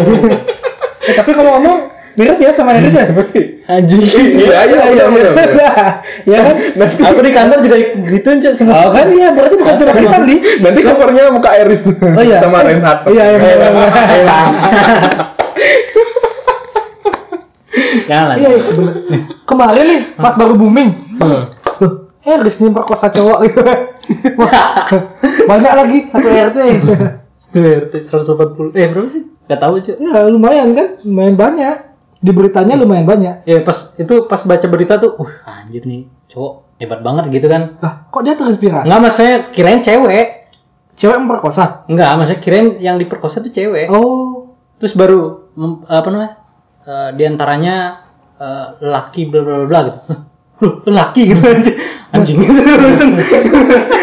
[SPEAKER 3] eh, tapi kalau ngomong mirip ya sama Indonesia
[SPEAKER 2] Anjing.
[SPEAKER 1] Iya, iya, iya, iya.
[SPEAKER 3] ya kan
[SPEAKER 2] Aku di kantor juga gituin cuy semua.
[SPEAKER 3] oh kan iya berarti bukan curhat hitam nih
[SPEAKER 1] Nanti covernya muka Eris
[SPEAKER 3] Oh iya.
[SPEAKER 1] sama Reinhardt.
[SPEAKER 3] Iya, iya,
[SPEAKER 1] Eh,
[SPEAKER 3] iya, iya.
[SPEAKER 2] Jangan.
[SPEAKER 3] iya iya. kemarin nih pas baru booming eh, tuh Eris nih perkosa cowok gitu Wah, banyak lagi satu RT
[SPEAKER 2] Satu RT 180 eh berapa sih? Gak tahu cuy.
[SPEAKER 3] ya lumayan kan lumayan banyak di beritanya lumayan banyak
[SPEAKER 2] Ya pas itu pas baca berita tuh, uh anjir nih cowok hebat banget gitu kan.
[SPEAKER 3] lah kok dia terinspirasi
[SPEAKER 2] Enggak maksudnya kirain cewek.
[SPEAKER 3] cewek memperkosa
[SPEAKER 2] Enggak maksudnya kirain yang diperkosa tuh cewek.
[SPEAKER 3] oh
[SPEAKER 2] Terus baru mem- apa namanya? Eh di antaranya eh, lelaki bla bla bla bla gitu. Huh, Lelaki gitu anjing. Anjing.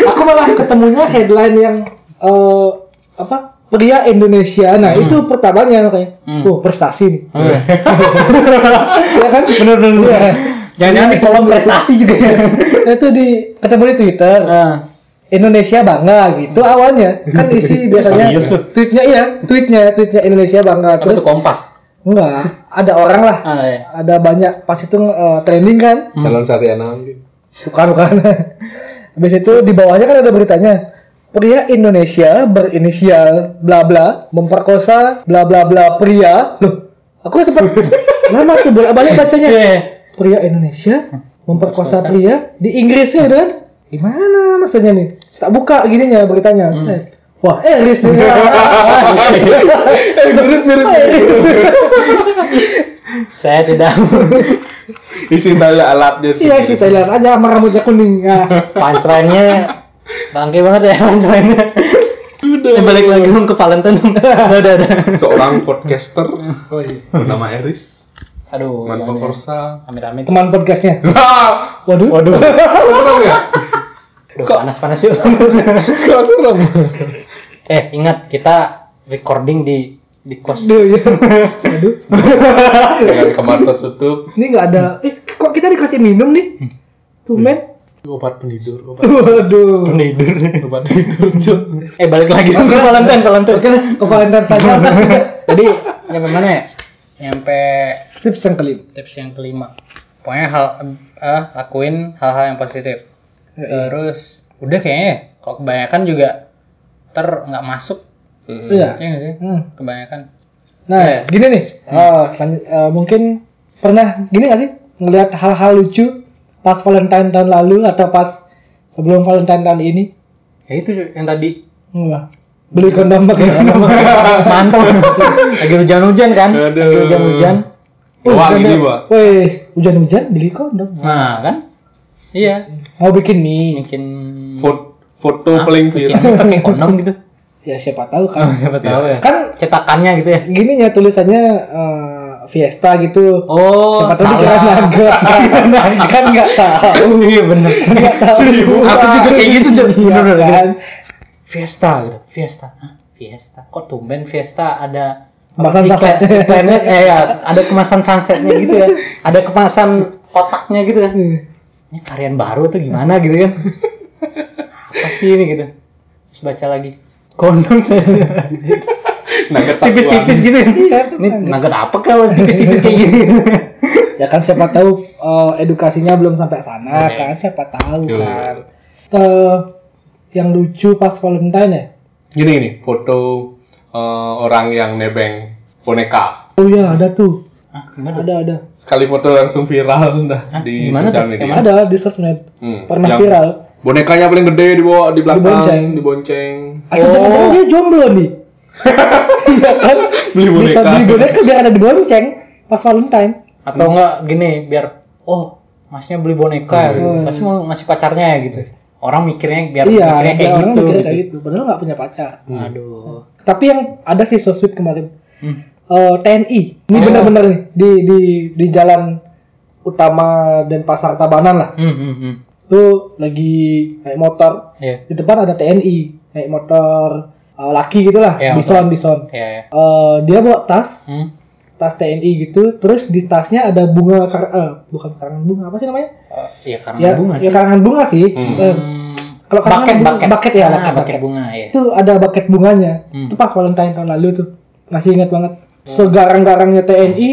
[SPEAKER 3] aku malah ketemunya headline yang eh, apa pria Indonesia nah itu pertamanya kayak
[SPEAKER 2] Hmm.
[SPEAKER 3] oh prestasi nih ya kan
[SPEAKER 2] Bener bener.
[SPEAKER 3] Iya.
[SPEAKER 2] Jangan-jangan di kolom prestasi juga ya.
[SPEAKER 3] Nah, itu di ketemu di Twitter
[SPEAKER 2] Nah.
[SPEAKER 3] Indonesia bangga gitu awalnya kan isi biasanya
[SPEAKER 2] Serius lu?
[SPEAKER 3] tweetnya iya tweetnya tweetnya Indonesia bangga
[SPEAKER 2] Terus
[SPEAKER 3] terus
[SPEAKER 2] kompas.
[SPEAKER 3] enggak ada orang lah
[SPEAKER 2] Ah, ya.
[SPEAKER 3] ada banyak pas itu eh, trending kan
[SPEAKER 1] Calon Satriana mungkin.
[SPEAKER 3] bukan bukan kan? habis itu di bawahnya kan ada beritanya pria Indonesia berinisial bla bla memperkosa bla bla bla pria loh aku sempat lama tuh bolak balik bacanya
[SPEAKER 2] Iya.
[SPEAKER 3] pria Indonesia memperkosa pria di Inggris kan gitu kan gimana maksudnya nih tak buka gininya beritanya Set. wah Eris nih
[SPEAKER 1] Eh, mirip-mirip.
[SPEAKER 3] Oh,
[SPEAKER 2] Saya tidak
[SPEAKER 1] Isi tali alatnya
[SPEAKER 3] iya sih saya lihat aja sama rambutnya kuning Nah,
[SPEAKER 2] pancrennya bangke banget ya pancrennya. Udah. balik lagi dong ke Valentine. Udah, udah, udah.
[SPEAKER 1] Seorang podcaster
[SPEAKER 3] Oh, iya.
[SPEAKER 1] bernama Eris,
[SPEAKER 2] Aduh. iya,
[SPEAKER 1] teman pemirsa.
[SPEAKER 2] Amit-amit.
[SPEAKER 3] teman podcastnya
[SPEAKER 1] Wah,
[SPEAKER 3] waduh waduh
[SPEAKER 1] serem ya?
[SPEAKER 2] Aduh, panas-panas yuk.
[SPEAKER 1] Kok serem?
[SPEAKER 2] eh, ingat kita recording di di kos.
[SPEAKER 3] Duh, ya. Aduh.
[SPEAKER 1] Dengan kamar tertutup,
[SPEAKER 3] Ini nggak ada. Eh, kok kita dikasih minum nih? Tumen.
[SPEAKER 1] obat penidur, obat
[SPEAKER 3] Waduh.
[SPEAKER 2] Tidur.
[SPEAKER 1] obat tidur, Cuk.
[SPEAKER 2] eh, balik lagi dong ke Valentine, Valentine.
[SPEAKER 3] Oke lah, kepala dan saja.
[SPEAKER 2] Jadi, nyampe mana ya? Nyampe
[SPEAKER 3] Tips yang kelima.
[SPEAKER 2] tips yang kelima. Pokoknya hal eh, lakuin hal-hal yang positif. Terus udah kayaknya ya, kalau kebanyakan juga ter nggak masuk
[SPEAKER 1] Mm.
[SPEAKER 3] Iya.
[SPEAKER 2] ya nggak sih
[SPEAKER 3] Hmm.
[SPEAKER 2] kebanyakan.
[SPEAKER 3] Nah,
[SPEAKER 2] Iya.
[SPEAKER 3] gini nih. Oh, selanjut- eh, mungkin pernah gini nggak sih ngelihat hal-hal lucu pas Valentine tahun lalu atau pas sebelum Valentine tahun ini?
[SPEAKER 2] Ya itu yang tadi
[SPEAKER 3] Wah. Beli kondom pakai kondom.
[SPEAKER 2] mantap. Lagi hujan-hujan kan?
[SPEAKER 1] Aduh.
[SPEAKER 2] Lagi hujan-hujan.
[SPEAKER 1] Doang ini, Pak.
[SPEAKER 3] Wes, hujan-hujan beli kondom.
[SPEAKER 2] Nah kan? Iya.
[SPEAKER 3] Mau bikin mie.
[SPEAKER 2] Bikin
[SPEAKER 1] Fo- Foto
[SPEAKER 2] Ah,
[SPEAKER 1] paling
[SPEAKER 2] bikin
[SPEAKER 1] viral.
[SPEAKER 2] pakai kondom gitu.
[SPEAKER 3] Ya siapa tahu kan.
[SPEAKER 2] Siapa
[SPEAKER 1] tahu
[SPEAKER 2] ya.
[SPEAKER 3] Kan
[SPEAKER 2] Cetakannya gitu ya.
[SPEAKER 3] gininya tulisannya eh, Fiesta gitu.
[SPEAKER 2] Oh,
[SPEAKER 3] Siapa tahu dikira naga. kan nggak tahu.
[SPEAKER 2] Iya benar.
[SPEAKER 3] Nggak tahu.
[SPEAKER 2] Aku juga kayak gitu Cuk.
[SPEAKER 3] Iya
[SPEAKER 2] Bener, bener.
[SPEAKER 3] kan.
[SPEAKER 2] Fiesta gitu. Fiesta. Hah? Fiesta. Kok tumben Fiesta ada
[SPEAKER 3] Kemasan
[SPEAKER 2] iklan-
[SPEAKER 3] sunset.
[SPEAKER 2] iklannya eh ya, ada kemasan sunsetnya gitu ya. Ada kemasan kotaknya gitu ya. Ini varian baru tuh gimana gitu kan. Apa sih ini gitu. Terus baca lagi kondom
[SPEAKER 1] Nugget satuan.
[SPEAKER 2] tipis-tipis gitu ya.
[SPEAKER 3] Iya,
[SPEAKER 2] Ini nugget apa kalau tipis-tipis kayak gini?
[SPEAKER 3] Ya kan siapa tahu eh, edukasinya belum sampai sana
[SPEAKER 2] Iya.
[SPEAKER 3] kan siapa tahu
[SPEAKER 1] Iya.
[SPEAKER 3] kan. Eh, yang lucu pas Valentine ya.
[SPEAKER 1] Gini gini, foto eh, orang yang nebeng boneka.
[SPEAKER 3] Oh iya ada tuh.
[SPEAKER 2] Ah, gimana?
[SPEAKER 3] Ada ada.
[SPEAKER 1] sekali foto langsung viral dah di
[SPEAKER 2] Gimana
[SPEAKER 1] sosial
[SPEAKER 2] tuh?
[SPEAKER 1] media.
[SPEAKER 2] Yang
[SPEAKER 3] Ada di sosmed.
[SPEAKER 1] Hmm,
[SPEAKER 3] Pernah
[SPEAKER 1] yang
[SPEAKER 3] viral.
[SPEAKER 1] Bonekanya paling gede di bawah di belakang,
[SPEAKER 3] Dibonceng.
[SPEAKER 1] dibonceng.
[SPEAKER 3] Atau jangan-jangan dia jomblo nih. Iya kan?
[SPEAKER 1] Beli
[SPEAKER 3] Bisa
[SPEAKER 1] boneka.
[SPEAKER 3] beli boneka biar ada di bonceng pas Valentine.
[SPEAKER 2] Atau
[SPEAKER 3] Hmm.
[SPEAKER 2] enggak gini biar oh masnya beli boneka ya, gitu.
[SPEAKER 3] Hmm.
[SPEAKER 2] Pasti mau ngasih pacarnya ya gitu. Orang mikirnya biar
[SPEAKER 3] iya,
[SPEAKER 2] mikirnya kayak
[SPEAKER 3] biar orang
[SPEAKER 2] gitu.
[SPEAKER 3] mikirnya kayak gitu. Padahal nggak punya pacar.
[SPEAKER 2] Aduh.
[SPEAKER 3] Tapi yang ada sih sosmed kemarin.
[SPEAKER 2] Hmm.
[SPEAKER 3] Eh, TNI. Ini
[SPEAKER 2] Oh.
[SPEAKER 3] benar-benar nih di di di jalan utama dan pasar Tabanan lah.
[SPEAKER 2] Hmm, hmm, hmm.
[SPEAKER 3] Tuh lagi naik motor.
[SPEAKER 2] Iya.
[SPEAKER 3] Di depan ada TNI naik motor eh, laki gitulah,
[SPEAKER 2] Iya,
[SPEAKER 3] bison bison.
[SPEAKER 2] Iya. iya.
[SPEAKER 3] Eh, dia bawa tas,
[SPEAKER 2] Hmm.
[SPEAKER 3] tas TNI gitu. Terus di tasnya ada bunga kar eh, bukan karangan bunga apa sih namanya?
[SPEAKER 2] Eh, Iya karena
[SPEAKER 3] ya,
[SPEAKER 2] bunga
[SPEAKER 3] ya
[SPEAKER 2] sih.
[SPEAKER 3] karangan bunga sih.
[SPEAKER 1] Hmm.
[SPEAKER 3] Eh, kalau karangan
[SPEAKER 2] bucket,
[SPEAKER 3] bunga-
[SPEAKER 2] bucket.
[SPEAKER 3] bucket ya,
[SPEAKER 2] Ah,
[SPEAKER 3] bucket,
[SPEAKER 2] bucket
[SPEAKER 3] bucket.
[SPEAKER 2] bunga ya.
[SPEAKER 3] itu ada bucket bunganya.
[SPEAKER 2] Hmm.
[SPEAKER 3] Itu pas Valentine tahun lalu tuh. Masih ingat banget. Segarang-garangnya TNI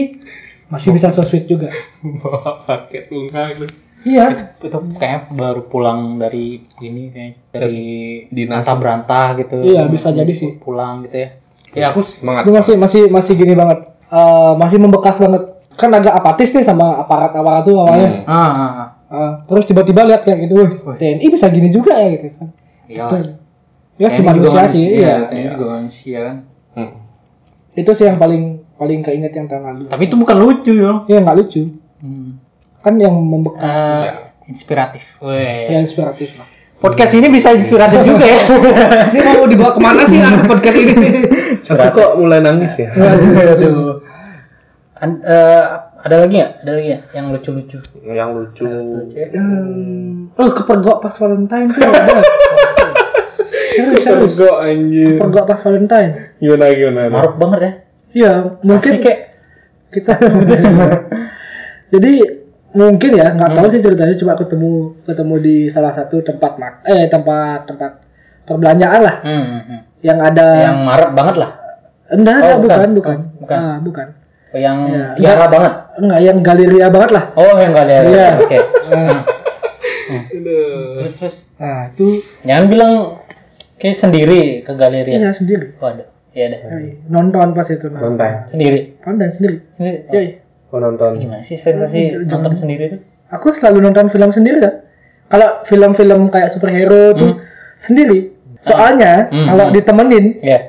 [SPEAKER 3] masih bisa so sweet juga.
[SPEAKER 1] Bawa paket bunga itu.
[SPEAKER 3] Iya.
[SPEAKER 2] itu kayaknya baru pulang dari ini kayak dari
[SPEAKER 1] Dinas.
[SPEAKER 2] berantah berantah gitu
[SPEAKER 3] Iya, bisa jadi sih.
[SPEAKER 2] pulang gitu ya ya aku
[SPEAKER 1] semangat. Hmm,
[SPEAKER 3] Itu masih masih masih gini banget. Eh, masih membekas banget. Kan agak apatis nih sama aparat-aparat tuh
[SPEAKER 1] Hmm.
[SPEAKER 3] awalnya.
[SPEAKER 2] ah, ah, ah.
[SPEAKER 3] Eh, terus tiba-tiba lihat kayak gitu, "Wih, TNI bisa gini juga ya gitu kan.
[SPEAKER 2] Iya.
[SPEAKER 3] Ya
[SPEAKER 2] Ini
[SPEAKER 3] sih manusia sih, iya.
[SPEAKER 2] ini juga manusia kan
[SPEAKER 1] Hmm.
[SPEAKER 3] Itu sih yang paling paling keinget yang tahun lalu.
[SPEAKER 2] tapi itu bukan lucu yo
[SPEAKER 3] Ya nggak lucu, kan yang membekas,
[SPEAKER 2] Eh, inspiratif Weh.
[SPEAKER 3] yang inspiratif lah.
[SPEAKER 2] podcast ini bisa iya, inspiratif juga ya
[SPEAKER 3] Ini mau dibawa kemana sih ah, podcast ini?
[SPEAKER 1] Aku kok mulai nangis ya?
[SPEAKER 2] Aduh. Iya. An- eh, ada lagi ya ada lagi ya yang lucu lucu
[SPEAKER 1] Yang lucu.
[SPEAKER 3] Hmm. Oh, kepergok pas Valentine tuh ada. serius, serius.
[SPEAKER 1] Pergo anjir.
[SPEAKER 3] Kepergok pas Valentine.
[SPEAKER 1] Gimana gimana?
[SPEAKER 2] maruk banget ya
[SPEAKER 3] Iya, mungkin
[SPEAKER 2] Asli kayak
[SPEAKER 3] kita. Jadi mungkin ya, nggak
[SPEAKER 2] Hmm.
[SPEAKER 3] tahu sih ceritanya cuma ketemu ketemu di salah satu tempat mak eh tempat tempat perbelanjaan lah
[SPEAKER 2] Hmm, hmm, hmm.
[SPEAKER 3] yang ada
[SPEAKER 2] yang maruk banget lah
[SPEAKER 3] enggak enggak,
[SPEAKER 2] Oh,
[SPEAKER 3] bukan
[SPEAKER 2] bukan.
[SPEAKER 3] bukan
[SPEAKER 2] Oh, bukan.
[SPEAKER 3] Ah, bukan
[SPEAKER 2] oh, yang
[SPEAKER 3] Iya.
[SPEAKER 2] tiara banget
[SPEAKER 3] enggak yang galeria banget lah
[SPEAKER 2] Oh yang gak ada.
[SPEAKER 3] Iya.
[SPEAKER 2] Oke. Hmm.
[SPEAKER 3] Ah,
[SPEAKER 2] Terus terus.
[SPEAKER 3] nah itu
[SPEAKER 2] Jangan bilang kayak sendiri ke galeri. ya.
[SPEAKER 3] iya sendiri
[SPEAKER 2] Waduh. Iya deh.
[SPEAKER 3] nonton pas itu
[SPEAKER 1] Nonton.
[SPEAKER 2] Sendiri.
[SPEAKER 3] nonton sendiri
[SPEAKER 2] Sendiri. Oh,
[SPEAKER 3] Yoi.
[SPEAKER 1] Oh nonton.
[SPEAKER 2] Gimana sih sensasi
[SPEAKER 3] Jangan.
[SPEAKER 2] nonton sendiri tuh?
[SPEAKER 3] aku selalu nonton film sendiri kan kalau film-film kayak superhero tuh
[SPEAKER 2] Hmm.
[SPEAKER 3] sendiri soalnya
[SPEAKER 2] Hmm,
[SPEAKER 3] kalau
[SPEAKER 2] hmm.
[SPEAKER 3] ditemenin
[SPEAKER 2] Iya.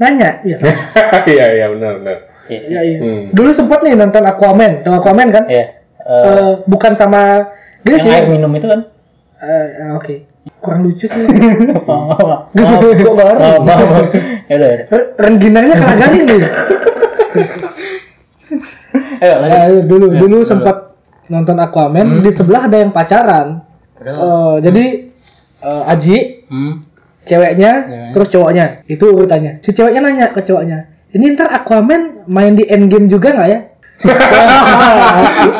[SPEAKER 3] nanya iya sama.
[SPEAKER 1] Iya iya benar benar.
[SPEAKER 2] Iya sih.
[SPEAKER 3] Iya, iya.
[SPEAKER 1] Hmm.
[SPEAKER 3] dulu sempet nih nonton Aquaman nonton Aquaman kan
[SPEAKER 2] Iya. Eh,
[SPEAKER 3] Eh, bukan sama gini
[SPEAKER 2] yang
[SPEAKER 3] sih
[SPEAKER 2] air minum itu kan?
[SPEAKER 3] Eh, eh, oke kurang lucu sih
[SPEAKER 2] Maaf, Oh, maaf.
[SPEAKER 3] Gua baru.
[SPEAKER 2] Maaf, maaf, maaf. Ya udah. ya udah.
[SPEAKER 3] Re- rengginangnya keragamin nih
[SPEAKER 2] Ayo lanjut.
[SPEAKER 3] Eh, dulu dulu sempat nonton Aquaman di sebelah ada yang pacaran Eh, jadi eh, Aji
[SPEAKER 2] Hmm.
[SPEAKER 3] ceweknya
[SPEAKER 2] Ceweknya.
[SPEAKER 3] terus cowoknya itu urutannya si ceweknya nanya ke cowoknya ini ntar Aquaman main di Endgame juga nggak ya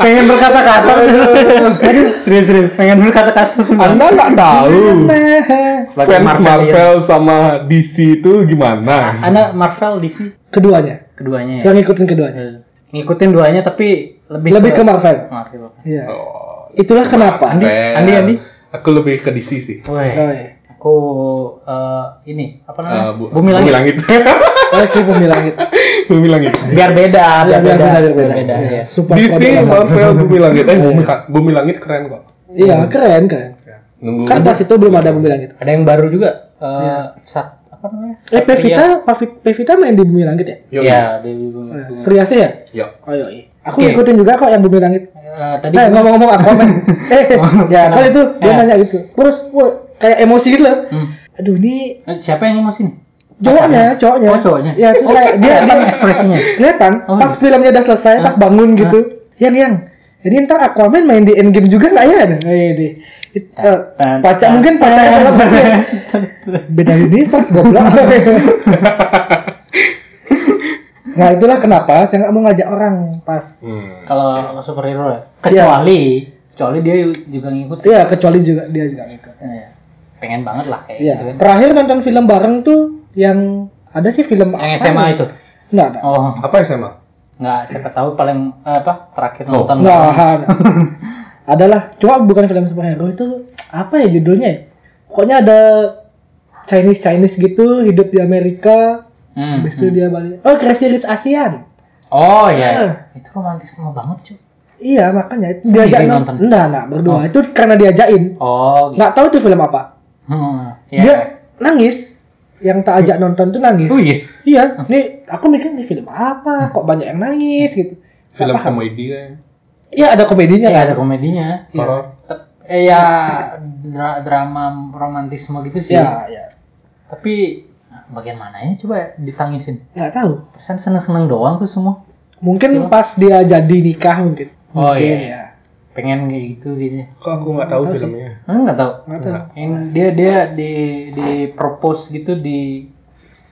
[SPEAKER 2] pengen berkata kasar serius serius pengen berkata kasar
[SPEAKER 1] Anda nggak tahu.
[SPEAKER 3] Nah,
[SPEAKER 2] sebagai
[SPEAKER 1] Fans
[SPEAKER 2] Marvel Ah,
[SPEAKER 1] Marvel sama DC itu gimana?
[SPEAKER 2] anak Marvel DC
[SPEAKER 3] keduanya
[SPEAKER 2] keduanya ya
[SPEAKER 3] saya ngikutin keduanya
[SPEAKER 2] Eh, ngikutin duanya tapi lebih
[SPEAKER 3] lebih ke Marvel
[SPEAKER 2] Marvel.
[SPEAKER 3] Iya.
[SPEAKER 1] Oh,
[SPEAKER 3] itulah kenapa
[SPEAKER 2] Andi,
[SPEAKER 1] Marvel.
[SPEAKER 2] Andi, Andi.
[SPEAKER 1] Aku lebih ke DC sih.
[SPEAKER 2] Woi,
[SPEAKER 3] Oh, iya.
[SPEAKER 2] aku eh, ini apa namanya?
[SPEAKER 1] Eh, Bu-
[SPEAKER 2] Bumi Langit.
[SPEAKER 3] oke bumi langit
[SPEAKER 1] Bumi langit.
[SPEAKER 2] Biar beda,
[SPEAKER 3] Iya,
[SPEAKER 2] biar, beda,
[SPEAKER 3] gitu. biar
[SPEAKER 2] biar beda.
[SPEAKER 3] Iya,
[SPEAKER 2] ya.
[SPEAKER 3] super
[SPEAKER 1] DC,
[SPEAKER 3] produk.
[SPEAKER 1] Marvel, Bumi Langit. Eh, Bumi, Bumi Langit keren kok.
[SPEAKER 3] iya keren keren
[SPEAKER 1] Nunggu
[SPEAKER 3] kan pas itu belum ada gitu. bumi langit
[SPEAKER 2] Ada yang baru juga. eh, Sat- apa namanya?
[SPEAKER 3] eh
[SPEAKER 2] Satria.
[SPEAKER 3] Pevita Pavi- Pevita main di bumi langit ya
[SPEAKER 1] Yo,
[SPEAKER 2] Iya, di Bumi
[SPEAKER 3] Eh,
[SPEAKER 2] Langit.
[SPEAKER 3] Sri Asih ya
[SPEAKER 1] Yo.
[SPEAKER 3] oh iya aku
[SPEAKER 2] Oke.
[SPEAKER 3] ngikutin juga kok yang bumi langit
[SPEAKER 2] Eh, tadi Oh,
[SPEAKER 3] Nah, ngomong-ngomong Aquaman. eh, ya kan itu dia
[SPEAKER 2] Ya.
[SPEAKER 3] nanya gitu. Terus wah, kayak emosi gitu loh.
[SPEAKER 2] Hmm.
[SPEAKER 3] Aduh, ini
[SPEAKER 2] Eh, siapa yang masih nih?
[SPEAKER 3] cowoknya, cowoknya.
[SPEAKER 2] Oh, cowoknya.
[SPEAKER 3] Ya, terus kayak dia
[SPEAKER 2] Kelihatan
[SPEAKER 3] dia
[SPEAKER 2] ekspresinya.
[SPEAKER 3] kelihatan
[SPEAKER 2] Oh,
[SPEAKER 3] kan? pas
[SPEAKER 2] iya. ah.
[SPEAKER 3] filmnya udah selesai, pas bangun gitu. Yang yang jadi ntar Aquaman main di Endgame juga nggak ya?
[SPEAKER 2] Oh,
[SPEAKER 3] Nah, iya deh. It-
[SPEAKER 2] Ah,
[SPEAKER 3] eh,
[SPEAKER 2] Tan-
[SPEAKER 3] pacar
[SPEAKER 2] tan-
[SPEAKER 3] mungkin pacar beda universe goblok. nah itulah kenapa saya nggak mau ngajak orang pas.
[SPEAKER 1] Hmm.
[SPEAKER 2] Kalau superhero ya. Kecuali kecuali dia juga ngikutin.
[SPEAKER 3] Iya kecuali juga dia juga ikut.
[SPEAKER 2] Iya. Pengen banget lah kayak gitu
[SPEAKER 3] Iya,
[SPEAKER 2] kan.
[SPEAKER 3] terakhir nonton film bareng tuh yang ada sih film
[SPEAKER 2] Yang SMA itu.
[SPEAKER 3] Enggak ada.
[SPEAKER 2] Oh,
[SPEAKER 1] Apa SMA?
[SPEAKER 2] nggak siapa tahu paling eh, apa terakhir
[SPEAKER 1] Oh.
[SPEAKER 2] nonton
[SPEAKER 3] Enggak ada. Adalah, cuma bukan film superhero itu apa ya judulnya ya? Pokoknya ada Chinese Chinese gitu hidup di Amerika,
[SPEAKER 2] Hmm,
[SPEAKER 3] habis itu
[SPEAKER 2] hmm.
[SPEAKER 3] dia balik. Oh, Crazy Rich Asian.
[SPEAKER 2] Oh iya,
[SPEAKER 3] Ah.
[SPEAKER 2] itu romantis banget cuy.
[SPEAKER 3] Iya makanya
[SPEAKER 2] Sendiri
[SPEAKER 3] diajak
[SPEAKER 2] nonton?
[SPEAKER 3] nonton. Enggak, enggak berdua.
[SPEAKER 2] Oh.
[SPEAKER 3] Itu karena diajakin.
[SPEAKER 2] Oh, gitu.
[SPEAKER 3] Enggak tahu itu film apa.
[SPEAKER 2] Hmm, iya.
[SPEAKER 3] Nah. Dia nangis. Yang tak ajak nonton tuh nangis.
[SPEAKER 2] Oh Hmm. iya.
[SPEAKER 3] Iya, ini aku mikir ini film apa? Kok banyak yang nangis gitu. Nggak
[SPEAKER 1] Film
[SPEAKER 3] paham.
[SPEAKER 1] komedi ya.
[SPEAKER 3] Iya ada komedinya
[SPEAKER 2] Iya,
[SPEAKER 3] kan.
[SPEAKER 2] ada komedinya.
[SPEAKER 3] Iya.
[SPEAKER 1] Horor.
[SPEAKER 2] Tep- Eh ya dra- drama romantisme gitu sih.
[SPEAKER 3] Iya, iya.
[SPEAKER 2] Tapi nah, bagian mananya coba ditangisin.
[SPEAKER 3] Nggak tahu.
[SPEAKER 2] Persen seneng-seneng doang tuh semua.
[SPEAKER 3] Mungkin
[SPEAKER 2] Cuma-
[SPEAKER 3] pas dia jadi nikah mungkin.
[SPEAKER 2] Oh,
[SPEAKER 3] Mungkin, ya.
[SPEAKER 2] iya. Pengen kayak gitu
[SPEAKER 1] Iya.
[SPEAKER 2] gitu.
[SPEAKER 1] Kok aku nggak tahu filmnya?
[SPEAKER 2] Hmm, nggak tahu.
[SPEAKER 3] Nggak tahu.
[SPEAKER 2] Yang dia dia di di propose gitu di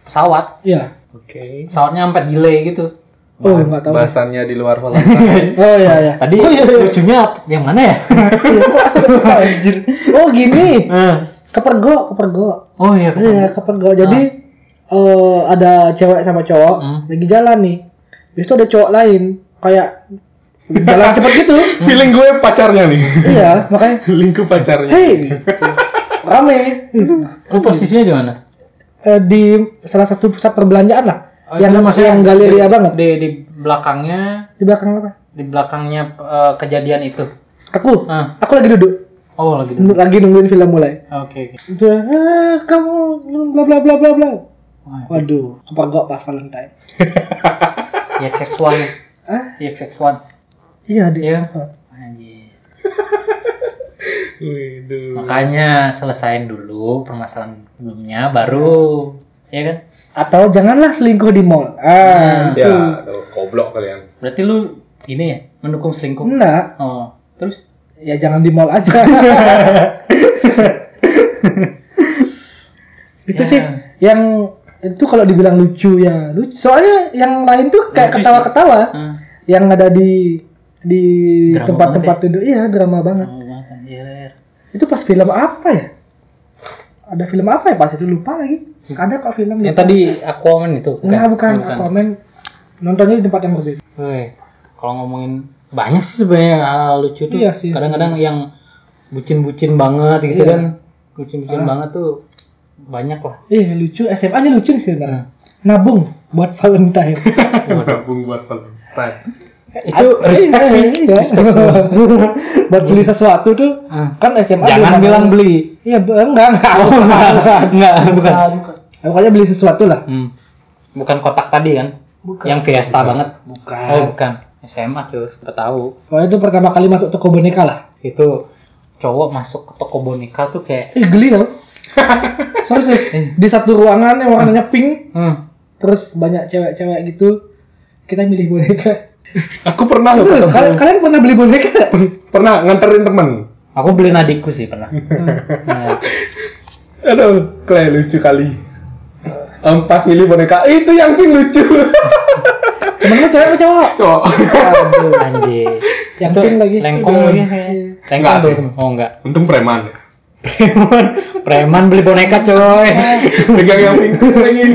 [SPEAKER 2] pesawat.
[SPEAKER 3] Iya.
[SPEAKER 1] Oke.
[SPEAKER 2] Pesawatnya sampai delay gitu.
[SPEAKER 3] Oh,
[SPEAKER 1] Bahas-
[SPEAKER 3] nggak tahu.
[SPEAKER 1] Bahasannya di luar Valentine.
[SPEAKER 3] Oh iya iya.
[SPEAKER 2] Tadi lucunya yang mana ya?
[SPEAKER 3] Iya, kok asal lupa, anjir. Oh gini,
[SPEAKER 2] Eh.
[SPEAKER 3] kepergok, kepergok.
[SPEAKER 2] oh iya.
[SPEAKER 3] Iya, kepergok. Jadi eh, ada cewek sama cowok
[SPEAKER 2] Ah. Hmm.
[SPEAKER 3] lagi jalan nih. Habis itu ada cowok lain kayak jalan cepet gitu.
[SPEAKER 1] Feeling gue pacarnya nih.
[SPEAKER 2] Hmm.
[SPEAKER 3] iya, makanya
[SPEAKER 1] Feeling gue pacarnya.
[SPEAKER 3] hey rame
[SPEAKER 2] Lu posisinya di mana?
[SPEAKER 3] Eh, di salah satu pusat perbelanjaan lah.
[SPEAKER 2] Oh,
[SPEAKER 3] yang
[SPEAKER 2] itu maksudnya
[SPEAKER 3] yang galeria
[SPEAKER 2] di-
[SPEAKER 3] banget di,
[SPEAKER 2] Di di belakangnya
[SPEAKER 3] belakang apa?
[SPEAKER 2] di belakangnya eh, kejadian itu.
[SPEAKER 3] Aku,
[SPEAKER 2] Ah.
[SPEAKER 3] aku lagi duduk,
[SPEAKER 2] Oh lagi dulu. Oke.
[SPEAKER 3] lagi nungguin film mulai.
[SPEAKER 2] oke.
[SPEAKER 3] Itu ah, kamu bla bla bla bla bla.
[SPEAKER 2] Wah,
[SPEAKER 3] Waduh, kepergok pas Valentine.
[SPEAKER 2] Ya seksual.
[SPEAKER 3] Ah,
[SPEAKER 2] Ya seksual.
[SPEAKER 3] iya di
[SPEAKER 2] Iya.
[SPEAKER 3] sensor.
[SPEAKER 2] Anjir.
[SPEAKER 1] Waduh.
[SPEAKER 2] Makanya selesain dulu permasalahan sebelumnya baru ya kan?
[SPEAKER 3] Atau janganlah selingkuh di mall. Ah,
[SPEAKER 2] Hmm.
[SPEAKER 3] itu.
[SPEAKER 1] Ya, aduh, goblok kalian.
[SPEAKER 2] Berarti lu ini ya mendukung selingkuh.
[SPEAKER 3] Enggak,
[SPEAKER 2] Oh, terus
[SPEAKER 3] ya jangan di mall aja. itu
[SPEAKER 2] Ya.
[SPEAKER 3] sih yang itu kalau dibilang lucu ya lucu. Soalnya yang lain tuh kayak
[SPEAKER 2] Lucu sih.
[SPEAKER 3] ketawa-ketawa
[SPEAKER 2] eh,
[SPEAKER 3] yang ada di di
[SPEAKER 2] Drama ya?
[SPEAKER 3] tempat-tempat itu iya drama banget.
[SPEAKER 2] mau Hmm. Oh, makan iya, Anjir.
[SPEAKER 3] Itu pas film apa ya? Ada film apa ya pas itu lupa lagi. Ada kok film
[SPEAKER 2] Hmm. Yang
[SPEAKER 3] lupa.
[SPEAKER 2] tadi Aquaman itu.
[SPEAKER 3] Enggak bukan, Aquaman nontonnya di tempat yang berbeda.
[SPEAKER 2] Woi, kalau ngomongin banyak sih sebenarnya hal lucu tuh.
[SPEAKER 3] Iya sih.
[SPEAKER 2] Kadang-kadang yang bucin-bucin banget gitu
[SPEAKER 3] Iya.
[SPEAKER 2] kan. Bucin-bucin
[SPEAKER 3] Ah.
[SPEAKER 2] banget tuh banyak lah.
[SPEAKER 3] Iya lucu, SMA-nya lucu sih
[SPEAKER 2] Hmm.
[SPEAKER 3] sebenarnya. Nabung buat Valentine.
[SPEAKER 1] Gabung buat Valentine.
[SPEAKER 3] Eh,
[SPEAKER 2] Itu respect sih.
[SPEAKER 3] Iya, buat beli sesuatu tuh
[SPEAKER 2] Ah.
[SPEAKER 3] kan SMA belum
[SPEAKER 2] Jangan bilang
[SPEAKER 3] ada-
[SPEAKER 2] beli. Oh,
[SPEAKER 3] Iya, be- enggak, enggak.
[SPEAKER 2] Enggak, bukan.
[SPEAKER 3] Ya, Pokoknya beli sesuatu lah.
[SPEAKER 2] Hmm. Bukan kotak tadi kan?
[SPEAKER 3] Bukan. Ah,
[SPEAKER 2] Yang Fiesta banget.
[SPEAKER 3] Bukan.
[SPEAKER 2] Oh, bukan. SMA cuy, siapa tahu.
[SPEAKER 3] Pokoknya itu pertama kali masuk toko boneka lah.
[SPEAKER 2] Itu cowok masuk ke toko boneka tuh kayak
[SPEAKER 3] Ih, geli tau. Sorry, serius.
[SPEAKER 2] Eh.
[SPEAKER 3] Di satu ruangan yang warnanya pink,
[SPEAKER 2] hmm,
[SPEAKER 3] terus banyak cewek-cewek gitu. Kita milih boneka.
[SPEAKER 1] Aku pernah loh
[SPEAKER 3] Betul,
[SPEAKER 1] ketemu.
[SPEAKER 3] kal- kalian pernah beli boneka? nggak?
[SPEAKER 1] Pernah nganterin temen.
[SPEAKER 2] aku beliin adikku sih pernah. Nah,
[SPEAKER 1] Aduh, kayak lucu kali. Em, pas milih boneka, "Eh, itu yang pink lucu.
[SPEAKER 3] Temen lu cewek apa cowok?
[SPEAKER 1] Cok.
[SPEAKER 2] Aduh, anjir.
[SPEAKER 3] Yang
[SPEAKER 2] Itu
[SPEAKER 3] pink lagi.
[SPEAKER 2] Lengkong
[SPEAKER 3] Aduh.
[SPEAKER 2] lagi.
[SPEAKER 3] Iya.
[SPEAKER 2] Lengkong
[SPEAKER 1] Enggak
[SPEAKER 2] tuh.
[SPEAKER 1] sih.
[SPEAKER 2] Oh enggak.
[SPEAKER 1] Untung preman.
[SPEAKER 2] Preman, preman beli boneka coy.
[SPEAKER 1] Pegang yang pink, pengen.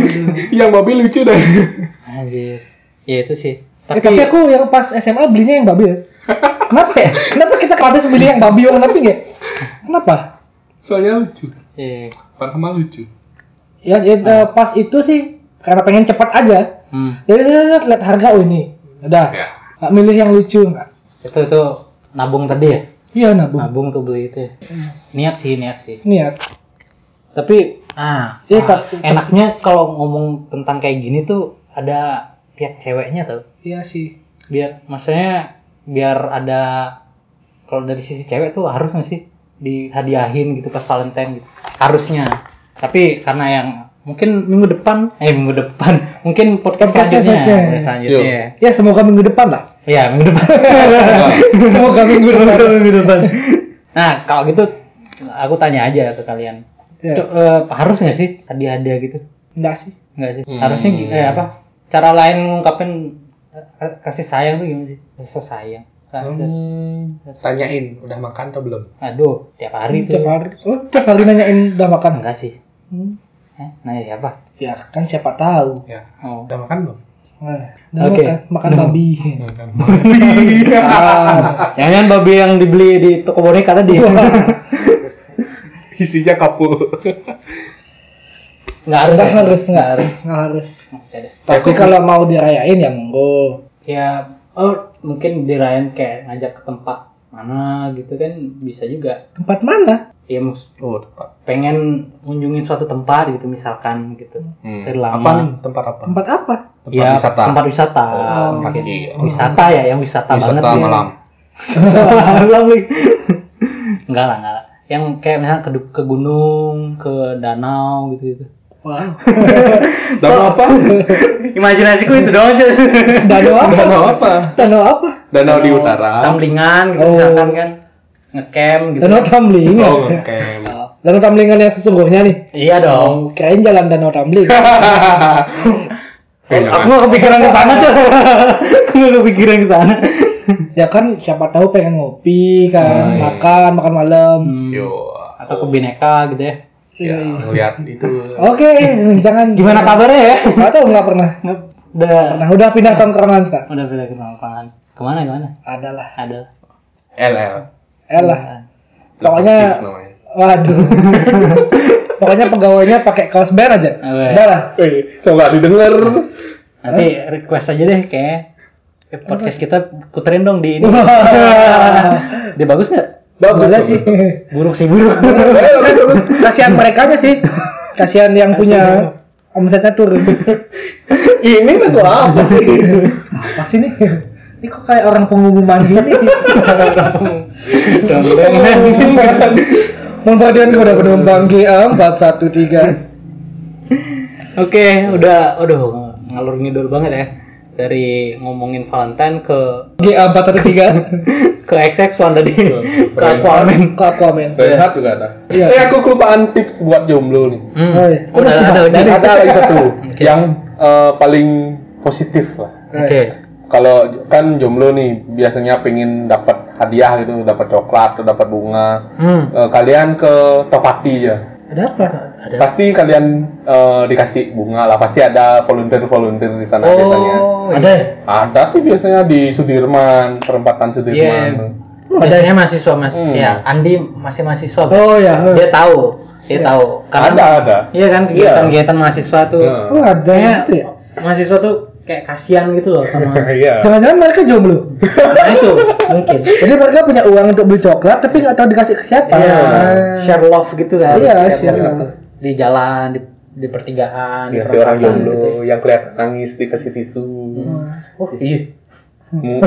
[SPEAKER 1] yang babi lucu deh.
[SPEAKER 2] Anjir. Ya itu sih.
[SPEAKER 3] Tapi, eh, tapi aku yang pas SMA belinya yang babi ya. Kenapa ya? Kenapa kita kades beli yang babi warna pink ya? Kenapa?
[SPEAKER 1] Soalnya lucu.
[SPEAKER 2] Iya.
[SPEAKER 1] Pertama lucu.
[SPEAKER 3] Ya, ya, eh, pas itu sih karena pengen cepat aja.
[SPEAKER 2] Hmm.
[SPEAKER 3] Jadi lihat, lihat harga oh ini. Udah.
[SPEAKER 1] Ya.
[SPEAKER 3] Nggak milih yang lucu. Nggak.
[SPEAKER 2] Itu itu nabung tadi ya?
[SPEAKER 3] Iya nabung.
[SPEAKER 2] Nabung tuh beli itu. ya. Niat sih, niat sih.
[SPEAKER 3] Niat.
[SPEAKER 2] Tapi ah,
[SPEAKER 3] Iya,
[SPEAKER 2] ah,
[SPEAKER 3] tapi-
[SPEAKER 2] enaknya kalau ngomong tentang kayak gini tuh ada pihak ceweknya tuh.
[SPEAKER 3] Iya sih.
[SPEAKER 2] Biar maksudnya biar ada kalau dari sisi cewek tuh harus nggak sih dihadiahin gitu pas Valentine gitu. Harusnya. Tapi karena yang mungkin minggu depan, eh minggu depan, mungkin podcast,
[SPEAKER 3] Podcast
[SPEAKER 2] selanjutnya,
[SPEAKER 3] selanjutnya.
[SPEAKER 2] podcast selanjutnya.
[SPEAKER 3] Ya semoga minggu depan lah.
[SPEAKER 2] Iya, minggu depan.
[SPEAKER 3] semoga minggu depan.
[SPEAKER 2] minggu depan. Nah, kalau gitu aku tanya aja ke kalian.
[SPEAKER 3] Ya.
[SPEAKER 2] Cuk, eh, harus nggak sih hadiah-hadiah gitu?
[SPEAKER 3] Nggak sih.
[SPEAKER 2] Enggak sih.
[SPEAKER 1] Hmm.
[SPEAKER 2] Harusnya gi- eh, apa? Cara lain ngungkapin eh, kasih sayang tuh gimana sih? Rasa sayang. Rasa
[SPEAKER 1] Hmm. Tanyain, udah makan atau belum?
[SPEAKER 2] Aduh, tiap hari tuh.
[SPEAKER 3] Tiap hari. Oh, tiap hari nanyain udah makan.
[SPEAKER 2] Enggak sih.
[SPEAKER 3] Hmm.
[SPEAKER 2] Eh, nanya siapa?
[SPEAKER 3] Ya kan siapa tahu.
[SPEAKER 1] Ya.
[SPEAKER 2] Oh.
[SPEAKER 1] Udah makan belum?
[SPEAKER 3] Nah, udah
[SPEAKER 2] Oke.
[SPEAKER 3] makan, makan babi.
[SPEAKER 1] Hmm. Iya.
[SPEAKER 2] Jangan babi yang dibeli di toko boneka tadi.
[SPEAKER 1] Isinya kapur.
[SPEAKER 2] Enggak harus.
[SPEAKER 3] Nggak
[SPEAKER 2] ya?
[SPEAKER 3] harus, nggak
[SPEAKER 2] Nggak
[SPEAKER 3] harus.
[SPEAKER 2] harus. Oke deh.
[SPEAKER 3] Tapi kalau mau dirayain ya monggo.
[SPEAKER 2] Ya, oh, mungkin dirayain kayak ngajak ke tempat mana gitu kan bisa juga
[SPEAKER 3] Tempat mana?
[SPEAKER 2] ya mus
[SPEAKER 1] Oh, tempat.
[SPEAKER 2] pengen kunjungin suatu tempat gitu misalkan gitu
[SPEAKER 1] Hmm.
[SPEAKER 2] Dari lama.
[SPEAKER 1] Apa nih? Tempat apa?
[SPEAKER 3] Tempat apa?
[SPEAKER 1] Tempat wisata.
[SPEAKER 2] Ya, tempat wisata
[SPEAKER 1] Oh,
[SPEAKER 2] Mungkin.
[SPEAKER 1] tempat- iya.
[SPEAKER 2] wisata ya yang wisata, banget
[SPEAKER 1] wisata
[SPEAKER 2] ya.
[SPEAKER 1] malam.
[SPEAKER 2] malam nih enggak lah enggak lah yang kayak misalnya ke, ke gunung ke danau gitu gitu
[SPEAKER 3] Wow.
[SPEAKER 1] Danau apa?
[SPEAKER 2] imajinasiku itu doang aja
[SPEAKER 3] Danau apa?
[SPEAKER 1] Danau apa?
[SPEAKER 3] Danau apa?
[SPEAKER 1] Danau di utara.
[SPEAKER 2] Tamlingan gitu
[SPEAKER 3] Oh.
[SPEAKER 2] misalkan kan ngecamp gitu
[SPEAKER 3] Danau Tamling.
[SPEAKER 1] Oh, oke.
[SPEAKER 2] Oh.
[SPEAKER 3] Danau Tamlingan yang sesungguhnya nih.
[SPEAKER 2] iya dong
[SPEAKER 3] Oh, kirain jalan Danau Tamling.
[SPEAKER 1] Eh,
[SPEAKER 2] aku
[SPEAKER 1] jangan.
[SPEAKER 2] gak kepikiran ke sana tuh aku gak kepikiran ke sana
[SPEAKER 3] ya kan siapa tahu pengen ngopi kan,
[SPEAKER 1] Hmm.
[SPEAKER 3] makan, makan malam.
[SPEAKER 1] Yo.
[SPEAKER 2] atau ke bineka gitu ya
[SPEAKER 1] Ya, ngeliat itu.
[SPEAKER 3] Iya, Oke, jangan
[SPEAKER 2] gimana kabarnya ya
[SPEAKER 3] Gak tau nggak pernah. Nah,
[SPEAKER 2] udah
[SPEAKER 3] udah pindah tongkrongan sekarang.
[SPEAKER 2] udah pindah ke Mampang. kemana kemana
[SPEAKER 3] Adalah.
[SPEAKER 2] ada
[SPEAKER 1] LL.
[SPEAKER 3] Elah. Pokoknya-
[SPEAKER 1] Aktif namanya.
[SPEAKER 3] Waduh. Pokoknya pegawainya pakai kaos band aja.
[SPEAKER 2] Oke.
[SPEAKER 3] Udah lah.
[SPEAKER 1] Wih, coba didengar.
[SPEAKER 2] nanti request aja deh kayak Eh, podcast kita puterin dong di ini dia bagus nggak
[SPEAKER 1] Bagus
[SPEAKER 3] Boleh
[SPEAKER 1] bagus,
[SPEAKER 3] sih.
[SPEAKER 1] bagus.
[SPEAKER 2] buruk sih buruk
[SPEAKER 1] Eh, bagus, bagus.
[SPEAKER 3] Kasihan mereka aja sih. Kasihan yang punya omsetnya turun.
[SPEAKER 1] Ini lagu apa sih?
[SPEAKER 3] Apa sih nih? Ini kok kayak orang pengumuman gini?
[SPEAKER 2] Gitu.
[SPEAKER 3] Memperhatikan kepada penumpang GA 413.
[SPEAKER 2] oke udah aduh ngalur ngidul banget ya dari ngomongin Valentine ke
[SPEAKER 3] GA 413
[SPEAKER 2] ke XX1 tadi ke Aquaman
[SPEAKER 3] ke Aquaman.
[SPEAKER 1] Reinhardt juga ada.
[SPEAKER 3] Iya.
[SPEAKER 1] Eh, aku kelupaan tips buat jomblo nih.
[SPEAKER 2] Hmm.
[SPEAKER 3] Oh, iya.
[SPEAKER 2] udah
[SPEAKER 3] Udah,
[SPEAKER 2] ada
[SPEAKER 3] sudah.
[SPEAKER 2] lagi
[SPEAKER 1] Dan ada lagi satu
[SPEAKER 2] Oke.
[SPEAKER 1] yang eh, paling positif lah.
[SPEAKER 2] oke
[SPEAKER 1] Kalau kan jomblo nih biasanya pengen dapat hadiah gitu, dapat coklat atau dapat bunga.
[SPEAKER 2] hmm.
[SPEAKER 1] Eh, kalian ke Topati aja.
[SPEAKER 3] Ada apa?
[SPEAKER 1] Pasti kalian eh, dikasih bunga lah. Pasti ada volunteer-volunteer di sana biasanya.
[SPEAKER 2] oh ada
[SPEAKER 1] Ada sih biasanya di Sudirman, perempatan Sudirman.
[SPEAKER 2] Iya. Biasanya mahasiswa mas,
[SPEAKER 1] Hmm.
[SPEAKER 2] ya Andi masih mahasiswa. Bro.
[SPEAKER 3] Oh ya.
[SPEAKER 2] Dia tahu, dia tahu.
[SPEAKER 1] Ada ada.
[SPEAKER 2] Iya kan kegiatan-kegiatan mahasiswa tuh.
[SPEAKER 1] Iya.
[SPEAKER 3] Oh, ada yang
[SPEAKER 2] Kayak
[SPEAKER 3] itu ya?
[SPEAKER 2] mahasiswa tuh kayak kasihan gitu loh sama.
[SPEAKER 1] Iya.
[SPEAKER 3] Jangan-jangan mereka jomblo.
[SPEAKER 2] nah itu mungkin.
[SPEAKER 3] Jadi mereka punya uang untuk beli coklat tapi nggak tahu dikasih ke siapa.
[SPEAKER 2] Iya,
[SPEAKER 3] Ah.
[SPEAKER 2] share love gitu kan.
[SPEAKER 3] Iya,
[SPEAKER 2] love
[SPEAKER 3] share
[SPEAKER 2] gitu.
[SPEAKER 3] love.
[SPEAKER 2] Di jalan, di, di pertigaan,
[SPEAKER 1] Dikasih
[SPEAKER 2] perempatan
[SPEAKER 1] Iya, orang jomblo
[SPEAKER 2] gitu.
[SPEAKER 1] yang kelihatan nangis dikasih tisu.
[SPEAKER 2] Oh, iya.
[SPEAKER 1] Hmm.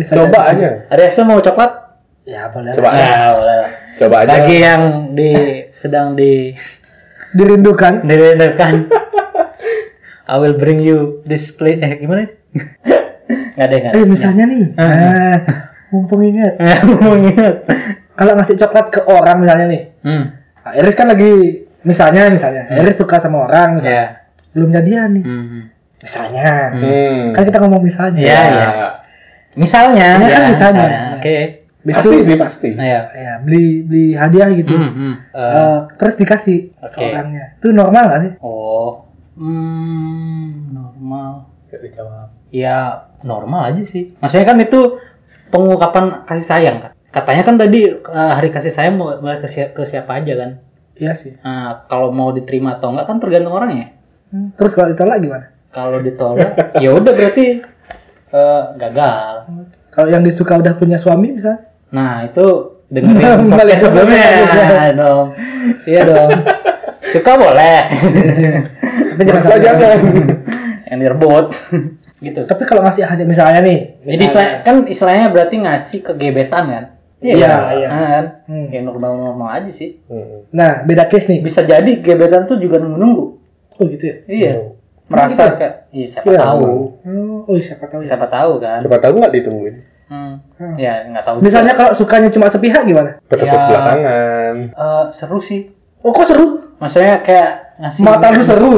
[SPEAKER 3] Bisa
[SPEAKER 1] Coba aja.
[SPEAKER 3] jadi.
[SPEAKER 2] Ada yang mau coklat?
[SPEAKER 3] Ya boleh.
[SPEAKER 1] Coba aja.
[SPEAKER 2] Nah, boleh.
[SPEAKER 1] Coba aja.
[SPEAKER 2] Bagi yang di sedang di
[SPEAKER 3] Dirindukan.
[SPEAKER 2] dirindukan. I will bring you this place. Eh gimana? Gak ada nggak?
[SPEAKER 3] Eh misalnya nih.
[SPEAKER 2] Ah.
[SPEAKER 3] Ah, mumpung ingat.
[SPEAKER 2] Mau ingat.
[SPEAKER 3] Kalau ngasih coklat ke orang misalnya nih.
[SPEAKER 2] Hmm.
[SPEAKER 3] Nah, Iris kan lagi misalnya misalnya Iris suka sama orang misalnya.
[SPEAKER 2] Ya.
[SPEAKER 3] Belum jadian nih.
[SPEAKER 2] Hmm.
[SPEAKER 3] Misalnya.
[SPEAKER 1] Hmm.
[SPEAKER 3] Kan kita ngomong misalnya.
[SPEAKER 2] Iya, iya. Misalnya,
[SPEAKER 3] Ya, misalnya.
[SPEAKER 2] Oke. Nah,
[SPEAKER 3] Habis
[SPEAKER 1] Pasti
[SPEAKER 3] itu,
[SPEAKER 1] sih Nah, iya. pasti.
[SPEAKER 2] Ayo.
[SPEAKER 3] ya, beli beli hadiah gitu. Eh, terus dikasih ke
[SPEAKER 2] Hmm. Oke.
[SPEAKER 3] orangnya. Itu normal gak sih?
[SPEAKER 2] oh. Hmm, normal.
[SPEAKER 1] Gak dijawab.
[SPEAKER 2] Ya, normal aja sih. Maksudnya kan itu pengungkapan kasih sayang kan. Katanya kan tadi eh, hari kasih sayang mau- mulai ke, si- ke siapa aja kan.
[SPEAKER 3] Iya sih.
[SPEAKER 2] Nah, kalau mau diterima atau enggak kan tergantung orangnya.
[SPEAKER 3] Hmm, Terus kalau ditolak gimana?
[SPEAKER 2] Kalau ditolak, ya udah berarti eh, gagal.
[SPEAKER 3] Kalau yang disuka udah punya suami bisa?
[SPEAKER 2] Nah, itu
[SPEAKER 3] Balik
[SPEAKER 2] dengerin podcast
[SPEAKER 3] ke
[SPEAKER 2] sebelumnya
[SPEAKER 3] podcast.
[SPEAKER 2] dong. Iya dong. Suka boleh.
[SPEAKER 3] Tapi jangan
[SPEAKER 1] Maksa
[SPEAKER 3] sampai-
[SPEAKER 1] jangan.
[SPEAKER 2] Yang direbut. gitu.
[SPEAKER 3] Tapi kalau ngasih hadiah misalnya nih,
[SPEAKER 2] Jadi istilah- kan istilahnya berarti ngasih ke gebetan kan?
[SPEAKER 3] Iya, iya.
[SPEAKER 2] Kan?
[SPEAKER 3] Hmm.
[SPEAKER 2] Ya normal-normal aja sih.
[SPEAKER 1] Hmm.
[SPEAKER 3] nah beda case nih.
[SPEAKER 2] Bisa jadi gebetan tuh juga nunggu-nunggu.
[SPEAKER 3] Oh gitu ya.
[SPEAKER 2] Iya. Merasa
[SPEAKER 3] Gitu.
[SPEAKER 2] kayak, iya siapa
[SPEAKER 1] Iya,
[SPEAKER 2] tahu.
[SPEAKER 3] Oh, oh, siapa tahu ya.
[SPEAKER 2] Siapa tahu kan?
[SPEAKER 1] Siapa tahu nggak ditungguin.
[SPEAKER 2] Hmm.
[SPEAKER 3] Hmm.
[SPEAKER 1] iya.
[SPEAKER 2] Ya, nggak tahu. juga.
[SPEAKER 3] Misalnya kalau sukanya cuma sepihak gimana?
[SPEAKER 1] Ketepus
[SPEAKER 2] Ya.
[SPEAKER 1] belakangan.
[SPEAKER 2] Eh, seru sih.
[SPEAKER 3] Oh kok seru?
[SPEAKER 2] Maksudnya kayak ngasih
[SPEAKER 3] Mata
[SPEAKER 1] iya.
[SPEAKER 3] lu seru.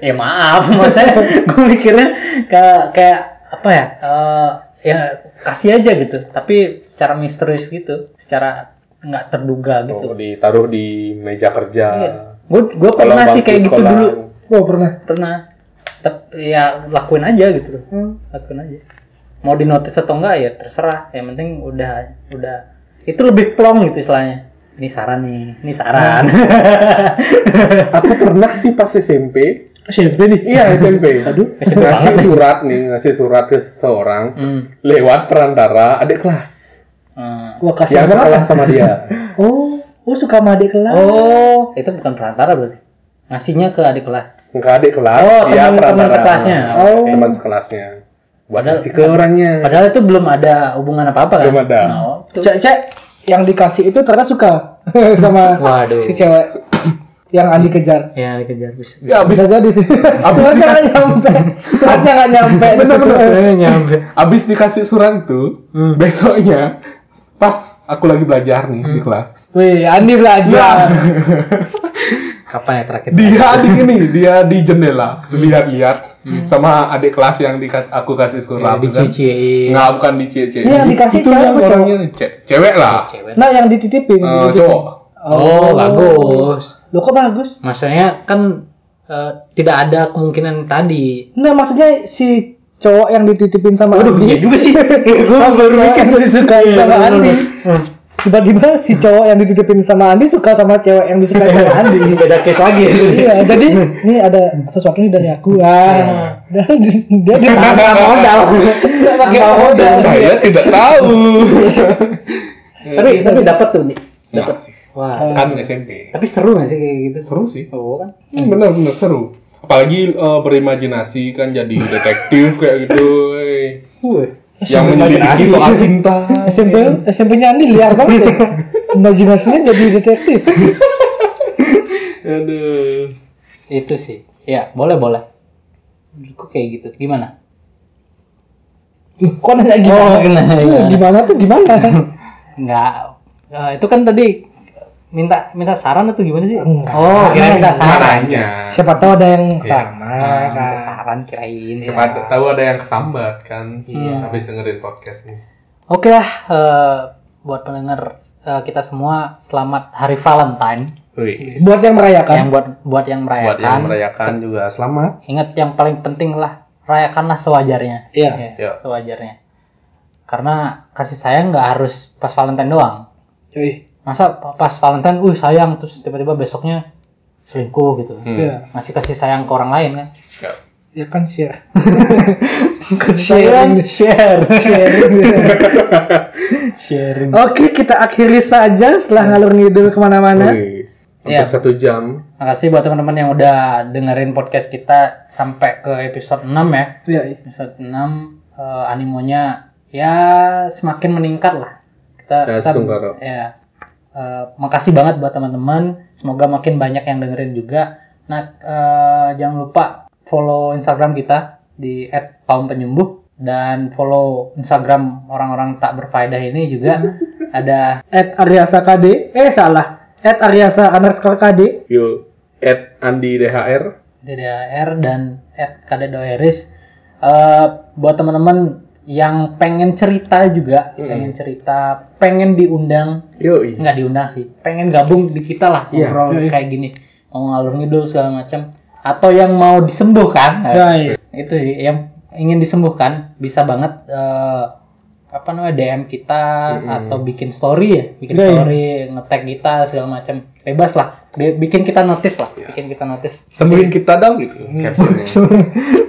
[SPEAKER 2] ya maaf maksudnya gue mikirnya kayak kayak apa ya eh, ya kasih aja gitu tapi secara misterius gitu secara nggak
[SPEAKER 1] Oh,
[SPEAKER 2] terduga gitu
[SPEAKER 1] ditaruh di meja kerja.
[SPEAKER 2] gue gue
[SPEAKER 1] Iya. Kalau
[SPEAKER 2] Iya. Eh, pernah sih
[SPEAKER 1] bangku
[SPEAKER 2] kayak gitu
[SPEAKER 1] sekolah.
[SPEAKER 2] dulu
[SPEAKER 3] Oh pernah.
[SPEAKER 2] pernah tapi ya lakuin aja gitu loh
[SPEAKER 3] Hmm.
[SPEAKER 2] lakuin aja mau di notice atau enggak ya terserah yang penting udah udah itu lebih plong gitu istilahnya ini saran nih ini saran
[SPEAKER 1] Aku pernah sih pas SMP
[SPEAKER 3] SMP nih.
[SPEAKER 1] Iya SMP.
[SPEAKER 3] Aduh.
[SPEAKER 2] SMP
[SPEAKER 1] ngasih
[SPEAKER 2] banget.
[SPEAKER 1] surat nih, ngasih surat ke seseorang
[SPEAKER 2] Hmm.
[SPEAKER 1] lewat perantara adik kelas
[SPEAKER 2] Hmm.
[SPEAKER 3] Gua kasih
[SPEAKER 1] yang sekolah sama dia.
[SPEAKER 3] Oh, oh suka sama adik kelas.
[SPEAKER 2] Oh, itu bukan perantara berarti. Ngasihnya ke adik kelas.
[SPEAKER 1] Enggak adik kelas,
[SPEAKER 2] Oh,
[SPEAKER 1] dia
[SPEAKER 2] teman- teman
[SPEAKER 1] perantara.
[SPEAKER 2] sekelasnya.
[SPEAKER 1] Oh,
[SPEAKER 3] Oh.
[SPEAKER 1] teman sekelasnya. Buat
[SPEAKER 2] Padahal-
[SPEAKER 1] ngasih ke orangnya.
[SPEAKER 2] Padahal itu belum ada hubungan apa-apa kan?
[SPEAKER 1] Belum ada.
[SPEAKER 2] Nah, itu-
[SPEAKER 3] Cek-cek yang dikasih itu ternyata suka sama
[SPEAKER 2] Waduh.
[SPEAKER 3] si cewek yang Andi kejar.
[SPEAKER 2] Ya dikejar bis.
[SPEAKER 1] Ya abis
[SPEAKER 3] Bisa jadi sih. Suratnya nggak nyampe. Suratnya nggak nyampe.
[SPEAKER 2] Eh, nyampe.
[SPEAKER 1] abis dikasih surat itu,
[SPEAKER 2] Hmm.
[SPEAKER 1] besoknya pas aku lagi belajar nih
[SPEAKER 2] Hmm.
[SPEAKER 1] di kelas. Nah,
[SPEAKER 3] Wih, Andi
[SPEAKER 2] Iya.
[SPEAKER 3] belajar.
[SPEAKER 2] Kapan ya terakhir?
[SPEAKER 1] Dia di ini, dia di jendela
[SPEAKER 2] Hmm.
[SPEAKER 1] lihat-lihat sama adik kelas yang di aku kasih
[SPEAKER 2] Ya,
[SPEAKER 1] surat. itu kan.
[SPEAKER 2] dicuciin.
[SPEAKER 1] Nggak, bukan di CC.
[SPEAKER 3] Ini yang Iya, dikasih
[SPEAKER 1] Itu
[SPEAKER 3] cewek
[SPEAKER 1] yang
[SPEAKER 3] apa
[SPEAKER 1] orangnya ce- cewek lah.
[SPEAKER 2] Cewek.
[SPEAKER 3] Nah, yang
[SPEAKER 1] Eh,
[SPEAKER 3] dititipin. dititipin.
[SPEAKER 1] cowok.
[SPEAKER 2] Kan? Oh, bagus.
[SPEAKER 3] Loh kok bagus?
[SPEAKER 2] Maksudnya kan eh, tidak ada kemungkinan tadi.
[SPEAKER 3] Nah, maksudnya si cowok yang dititipin sama
[SPEAKER 2] Waduh,
[SPEAKER 3] Andi.
[SPEAKER 2] iya juga sih.
[SPEAKER 3] Gua baru mikir jadi suka sama
[SPEAKER 2] Iya,
[SPEAKER 3] Andi. Tiba-tiba si cowok yang dititipin sama Andi suka sama cewek yang disukai sama Andi.
[SPEAKER 2] Beda case lagi.
[SPEAKER 3] Iya, jadi ini ada sesuatu nih dari aku. Ah.
[SPEAKER 2] Iya.
[SPEAKER 3] Dan dia ditangkap modal. Enggak pakai modal.
[SPEAKER 1] Saya tidak tahu.
[SPEAKER 2] tapi tapi dapat tuh nih.
[SPEAKER 1] Nah,
[SPEAKER 2] Iya, Wah.
[SPEAKER 1] kan SMP.
[SPEAKER 2] Tapi seru gak sih kayak gitu?
[SPEAKER 1] Seru sih.
[SPEAKER 2] Oh kan.
[SPEAKER 1] Bener-bener Hmm, seru. Apalagi eh, berimajinasi kan jadi detektif kayak gitu. woy.
[SPEAKER 2] Wih.
[SPEAKER 1] Yang menyelidiki soal cinta.
[SPEAKER 3] SMP SMP-nya Andi liar banget. ya. Imajinasinya jadi detektif.
[SPEAKER 1] Aduh.
[SPEAKER 2] Itu sih. Ya, boleh boleh. Menurutku kayak gitu. Gimana?
[SPEAKER 3] Kok nanya gimana?
[SPEAKER 2] Oh, gimana,
[SPEAKER 3] Iya,
[SPEAKER 2] gimana.
[SPEAKER 3] gimana tuh gimana?
[SPEAKER 2] Enggak. Eh, itu kan tadi minta minta saran atau gimana sih?
[SPEAKER 3] Enggak.
[SPEAKER 2] Oh, kira minta saran.
[SPEAKER 1] Caranya.
[SPEAKER 3] Siapa tahu ada yang
[SPEAKER 1] Iya.
[SPEAKER 3] sama
[SPEAKER 2] Ah, minta
[SPEAKER 3] kan. Iya.
[SPEAKER 2] saran kirain.
[SPEAKER 1] Siapa ada- tahu ada yang kesambat kan
[SPEAKER 2] Iya.
[SPEAKER 1] habis dengerin podcast ini.
[SPEAKER 2] Oke lah eh, buat pendengar eh, kita semua selamat Hari Valentine
[SPEAKER 1] Wih.
[SPEAKER 3] Buat yang merayakan.
[SPEAKER 2] yang buat buat yang merayakan.
[SPEAKER 1] Buat yang merayakan juga selamat.
[SPEAKER 2] Ingat yang paling penting lah rayakanlah sewajarnya.
[SPEAKER 3] Iya.
[SPEAKER 2] Ya,
[SPEAKER 1] Iya.
[SPEAKER 2] sewajarnya. Karena kasih sayang nggak harus pas Valentine doang.
[SPEAKER 3] Yoi.
[SPEAKER 2] Masa pas Valentine, uh sayang terus tiba-tiba besoknya selingkuh gitu.
[SPEAKER 1] Hmm.
[SPEAKER 3] Iya.
[SPEAKER 2] Masih kasih sayang ke orang lain kan?
[SPEAKER 1] Ya.
[SPEAKER 3] Ya kan share.
[SPEAKER 2] Sharing, share,
[SPEAKER 3] Sharing.
[SPEAKER 2] sharing.
[SPEAKER 3] Oke, kita akhiri saja
[SPEAKER 2] Ya.
[SPEAKER 3] setelah ngalur ngidul kemana-mana.
[SPEAKER 1] Wih.
[SPEAKER 2] Iya.
[SPEAKER 1] Hampir satu jam.
[SPEAKER 2] Makasih buat teman-teman yang udah dengerin podcast kita sampai ke episode 6 ya.
[SPEAKER 3] Iya.
[SPEAKER 2] Episode 6 eh, animonya ya semakin meningkat lah. Kita,
[SPEAKER 1] Ya,
[SPEAKER 2] kita-
[SPEAKER 1] setuju, Kak.
[SPEAKER 2] ya. Eh, makasih banget buat teman-teman. Semoga makin banyak yang dengerin juga. Nah, eh, jangan lupa follow Instagram kita di @paumpenyembuh dan follow Instagram orang-orang tak berfaedah ini juga ada
[SPEAKER 3] At Aryasa KD. Eh salah. At Aryasa underscore KD.
[SPEAKER 1] Yo, at Andi DHR.
[SPEAKER 2] DDR dan @kadedoeris. Eh, buat teman-teman yang pengen cerita juga,
[SPEAKER 1] Mm.
[SPEAKER 2] pengen cerita, pengen diundang,
[SPEAKER 1] Yo,
[SPEAKER 2] nggak diundang sih, pengen gabung di kita lah
[SPEAKER 1] Iya,
[SPEAKER 2] ngobrol
[SPEAKER 3] iya, iya.
[SPEAKER 2] kayak gini, mau ngalur ngidul segala macam, atau yang mau disembuhkan, eh,
[SPEAKER 3] Guys.
[SPEAKER 2] itu sih yang ingin disembuhkan bisa banget eh, apa namanya DM kita
[SPEAKER 1] Mm-mm.
[SPEAKER 2] atau bikin story ya, bikin
[SPEAKER 3] Iya, iya.
[SPEAKER 2] story, ngetag kita segala macam, bebas lah, Bi- bikin kita notice lah,
[SPEAKER 1] Iya.
[SPEAKER 2] bikin kita notice.
[SPEAKER 1] sembuhin kita dong gitu. captionnya.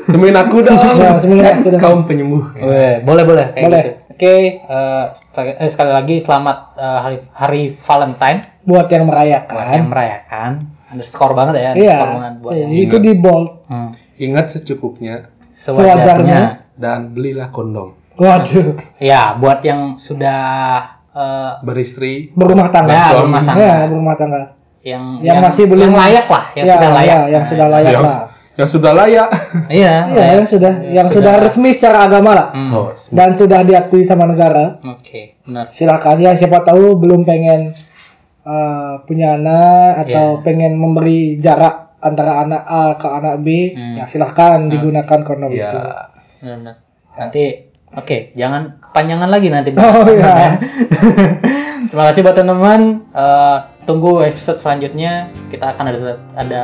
[SPEAKER 1] sembuhin aku dong.
[SPEAKER 3] Ya, sembuhin aku dong.
[SPEAKER 1] Kaum penyembuh.
[SPEAKER 2] Weh, boleh boleh kayak
[SPEAKER 3] Boleh.
[SPEAKER 2] gitu. Oke, eh, sekali- eh, sekali lagi selamat eh, hari hari Valentine
[SPEAKER 3] Buat yang
[SPEAKER 2] buat yang
[SPEAKER 3] merayakan.
[SPEAKER 2] merayakan. Underscore banget ya,
[SPEAKER 3] Kan. Iya.
[SPEAKER 2] underscore banget buat
[SPEAKER 3] Iya,
[SPEAKER 2] yang
[SPEAKER 3] Itu di bold.
[SPEAKER 2] Hmm,
[SPEAKER 1] Ingat secukupnya
[SPEAKER 2] sewajarnya.
[SPEAKER 3] Sewajarnya.
[SPEAKER 1] dan belilah kondom.
[SPEAKER 3] Waduh.
[SPEAKER 2] Ya, buat yang sudah eh,
[SPEAKER 1] Beristri.
[SPEAKER 3] Berumah tangga.
[SPEAKER 2] Ya,
[SPEAKER 1] suami.
[SPEAKER 2] rumah tangga.
[SPEAKER 3] Ya, berumah tangga.
[SPEAKER 2] yang,
[SPEAKER 3] Yang masih belum-
[SPEAKER 2] yang layak lah, yang
[SPEAKER 3] Ya,
[SPEAKER 2] sudah layak.
[SPEAKER 3] ya, yang
[SPEAKER 2] Nah,
[SPEAKER 3] sudah layak
[SPEAKER 1] yang,
[SPEAKER 3] lah.
[SPEAKER 1] yang sudah layak.
[SPEAKER 2] Iya,
[SPEAKER 3] Iya,
[SPEAKER 2] layak.
[SPEAKER 3] yang sudah yang sudah resmi secara agama lah
[SPEAKER 2] Hmm,
[SPEAKER 1] Oh,
[SPEAKER 2] Oke,
[SPEAKER 3] dan sudah diakui sama negara.
[SPEAKER 2] benar.
[SPEAKER 3] silakan ya siapa tahu belum pengen eh, punya anak atau
[SPEAKER 2] Iya.
[SPEAKER 3] pengen memberi jarak antara anak A ke anak B
[SPEAKER 2] Hmm. Iya.
[SPEAKER 3] ya silahkan digunakan kondom
[SPEAKER 1] ya.
[SPEAKER 3] itu
[SPEAKER 2] Benar, benar. Nanti oke, jangan panjangan lagi nanti. ya.
[SPEAKER 3] oh iya
[SPEAKER 2] Terima kasih buat teman-teman. Eh, tunggu episode selanjutnya. Kita akan ada ada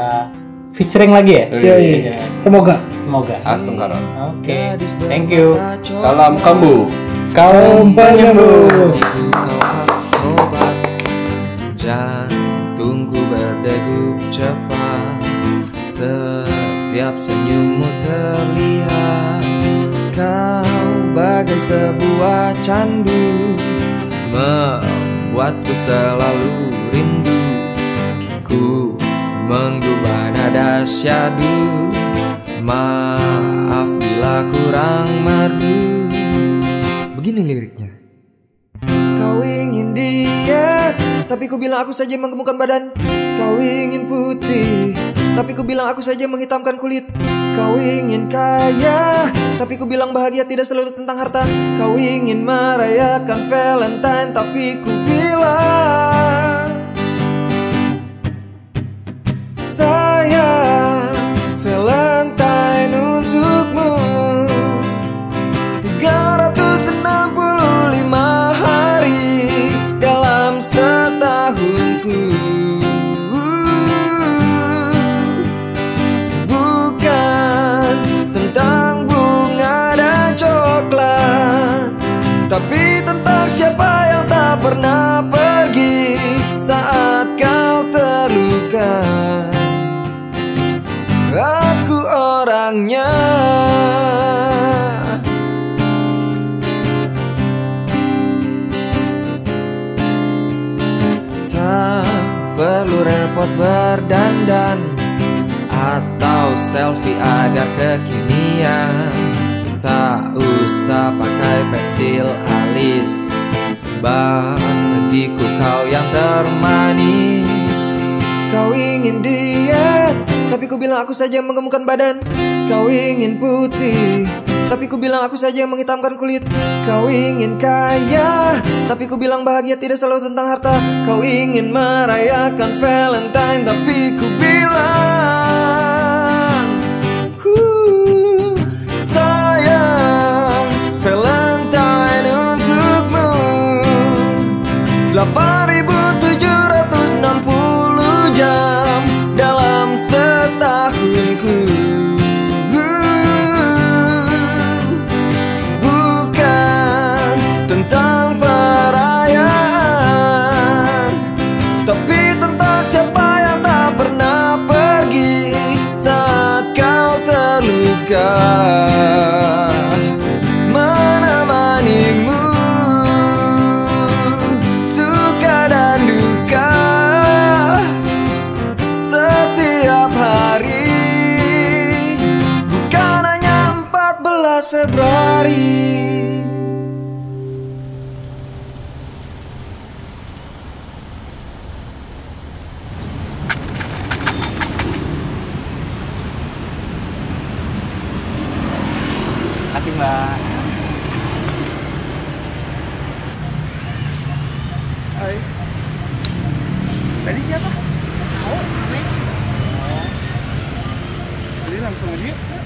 [SPEAKER 2] featuring lagi ya.
[SPEAKER 3] Iya.
[SPEAKER 1] Yoi.
[SPEAKER 3] Yoi. semoga
[SPEAKER 2] Semoga.
[SPEAKER 1] Ah. Astungkaran.
[SPEAKER 2] Oke. Thank you.
[SPEAKER 1] Salam kambuh.
[SPEAKER 3] kaum penyembuh
[SPEAKER 4] Kau obat Jantungku berdegup cepat Setiap Setiap senyummu terlihat Kau bagai sebuah candu Membuatku selalu rindu Ku menggubah nada syadu Maaf bila kurang merdu Begini liriknya Kau ingin dia, tapi ku bilang aku saja menggemukkan badan. Kau ingin putih, tapi ku bilang aku saja menghitamkan kulit. Kau ingin kaya, tapi ku bilang bahagia tidak selalu tentang harta. Kau ingin merayakan Valentine, tapi ku bilang sayang Valentine untukmu. 365 hari dalam setahunku Bukan tentang bunga dan coklat Tapi tentang siapa yang tak pernah pergi saat kau terluka Aku orangnya Tak perlu repot berdandan Atau selfie agar kekinian Tak usah pakai pensil alis Bagiku kau yang termanis Kau ingin diet Tapi ku bilang aku saja menggemukkan badan Kau ingin putih Tapi ku bilang aku saja yang menghitamkan kulit Kau ingin kaya Tapi ku bilang bahagia tidak selalu tentang harta Kau ingin merayakan Valentine Tapi ku bilang "Huh, Sayang Valentine untukmu 8760 jam dalam setahunku Bukan tentang perayaan Tapi tentang siapa yang tak pernah pergi saat kau terluka Menemanimu suka dan duka setiap hari bukan hanya 14 Februari
[SPEAKER 2] Kasih mbak.
[SPEAKER 5] Tadi siapa? Oh, Tadi langsung aja.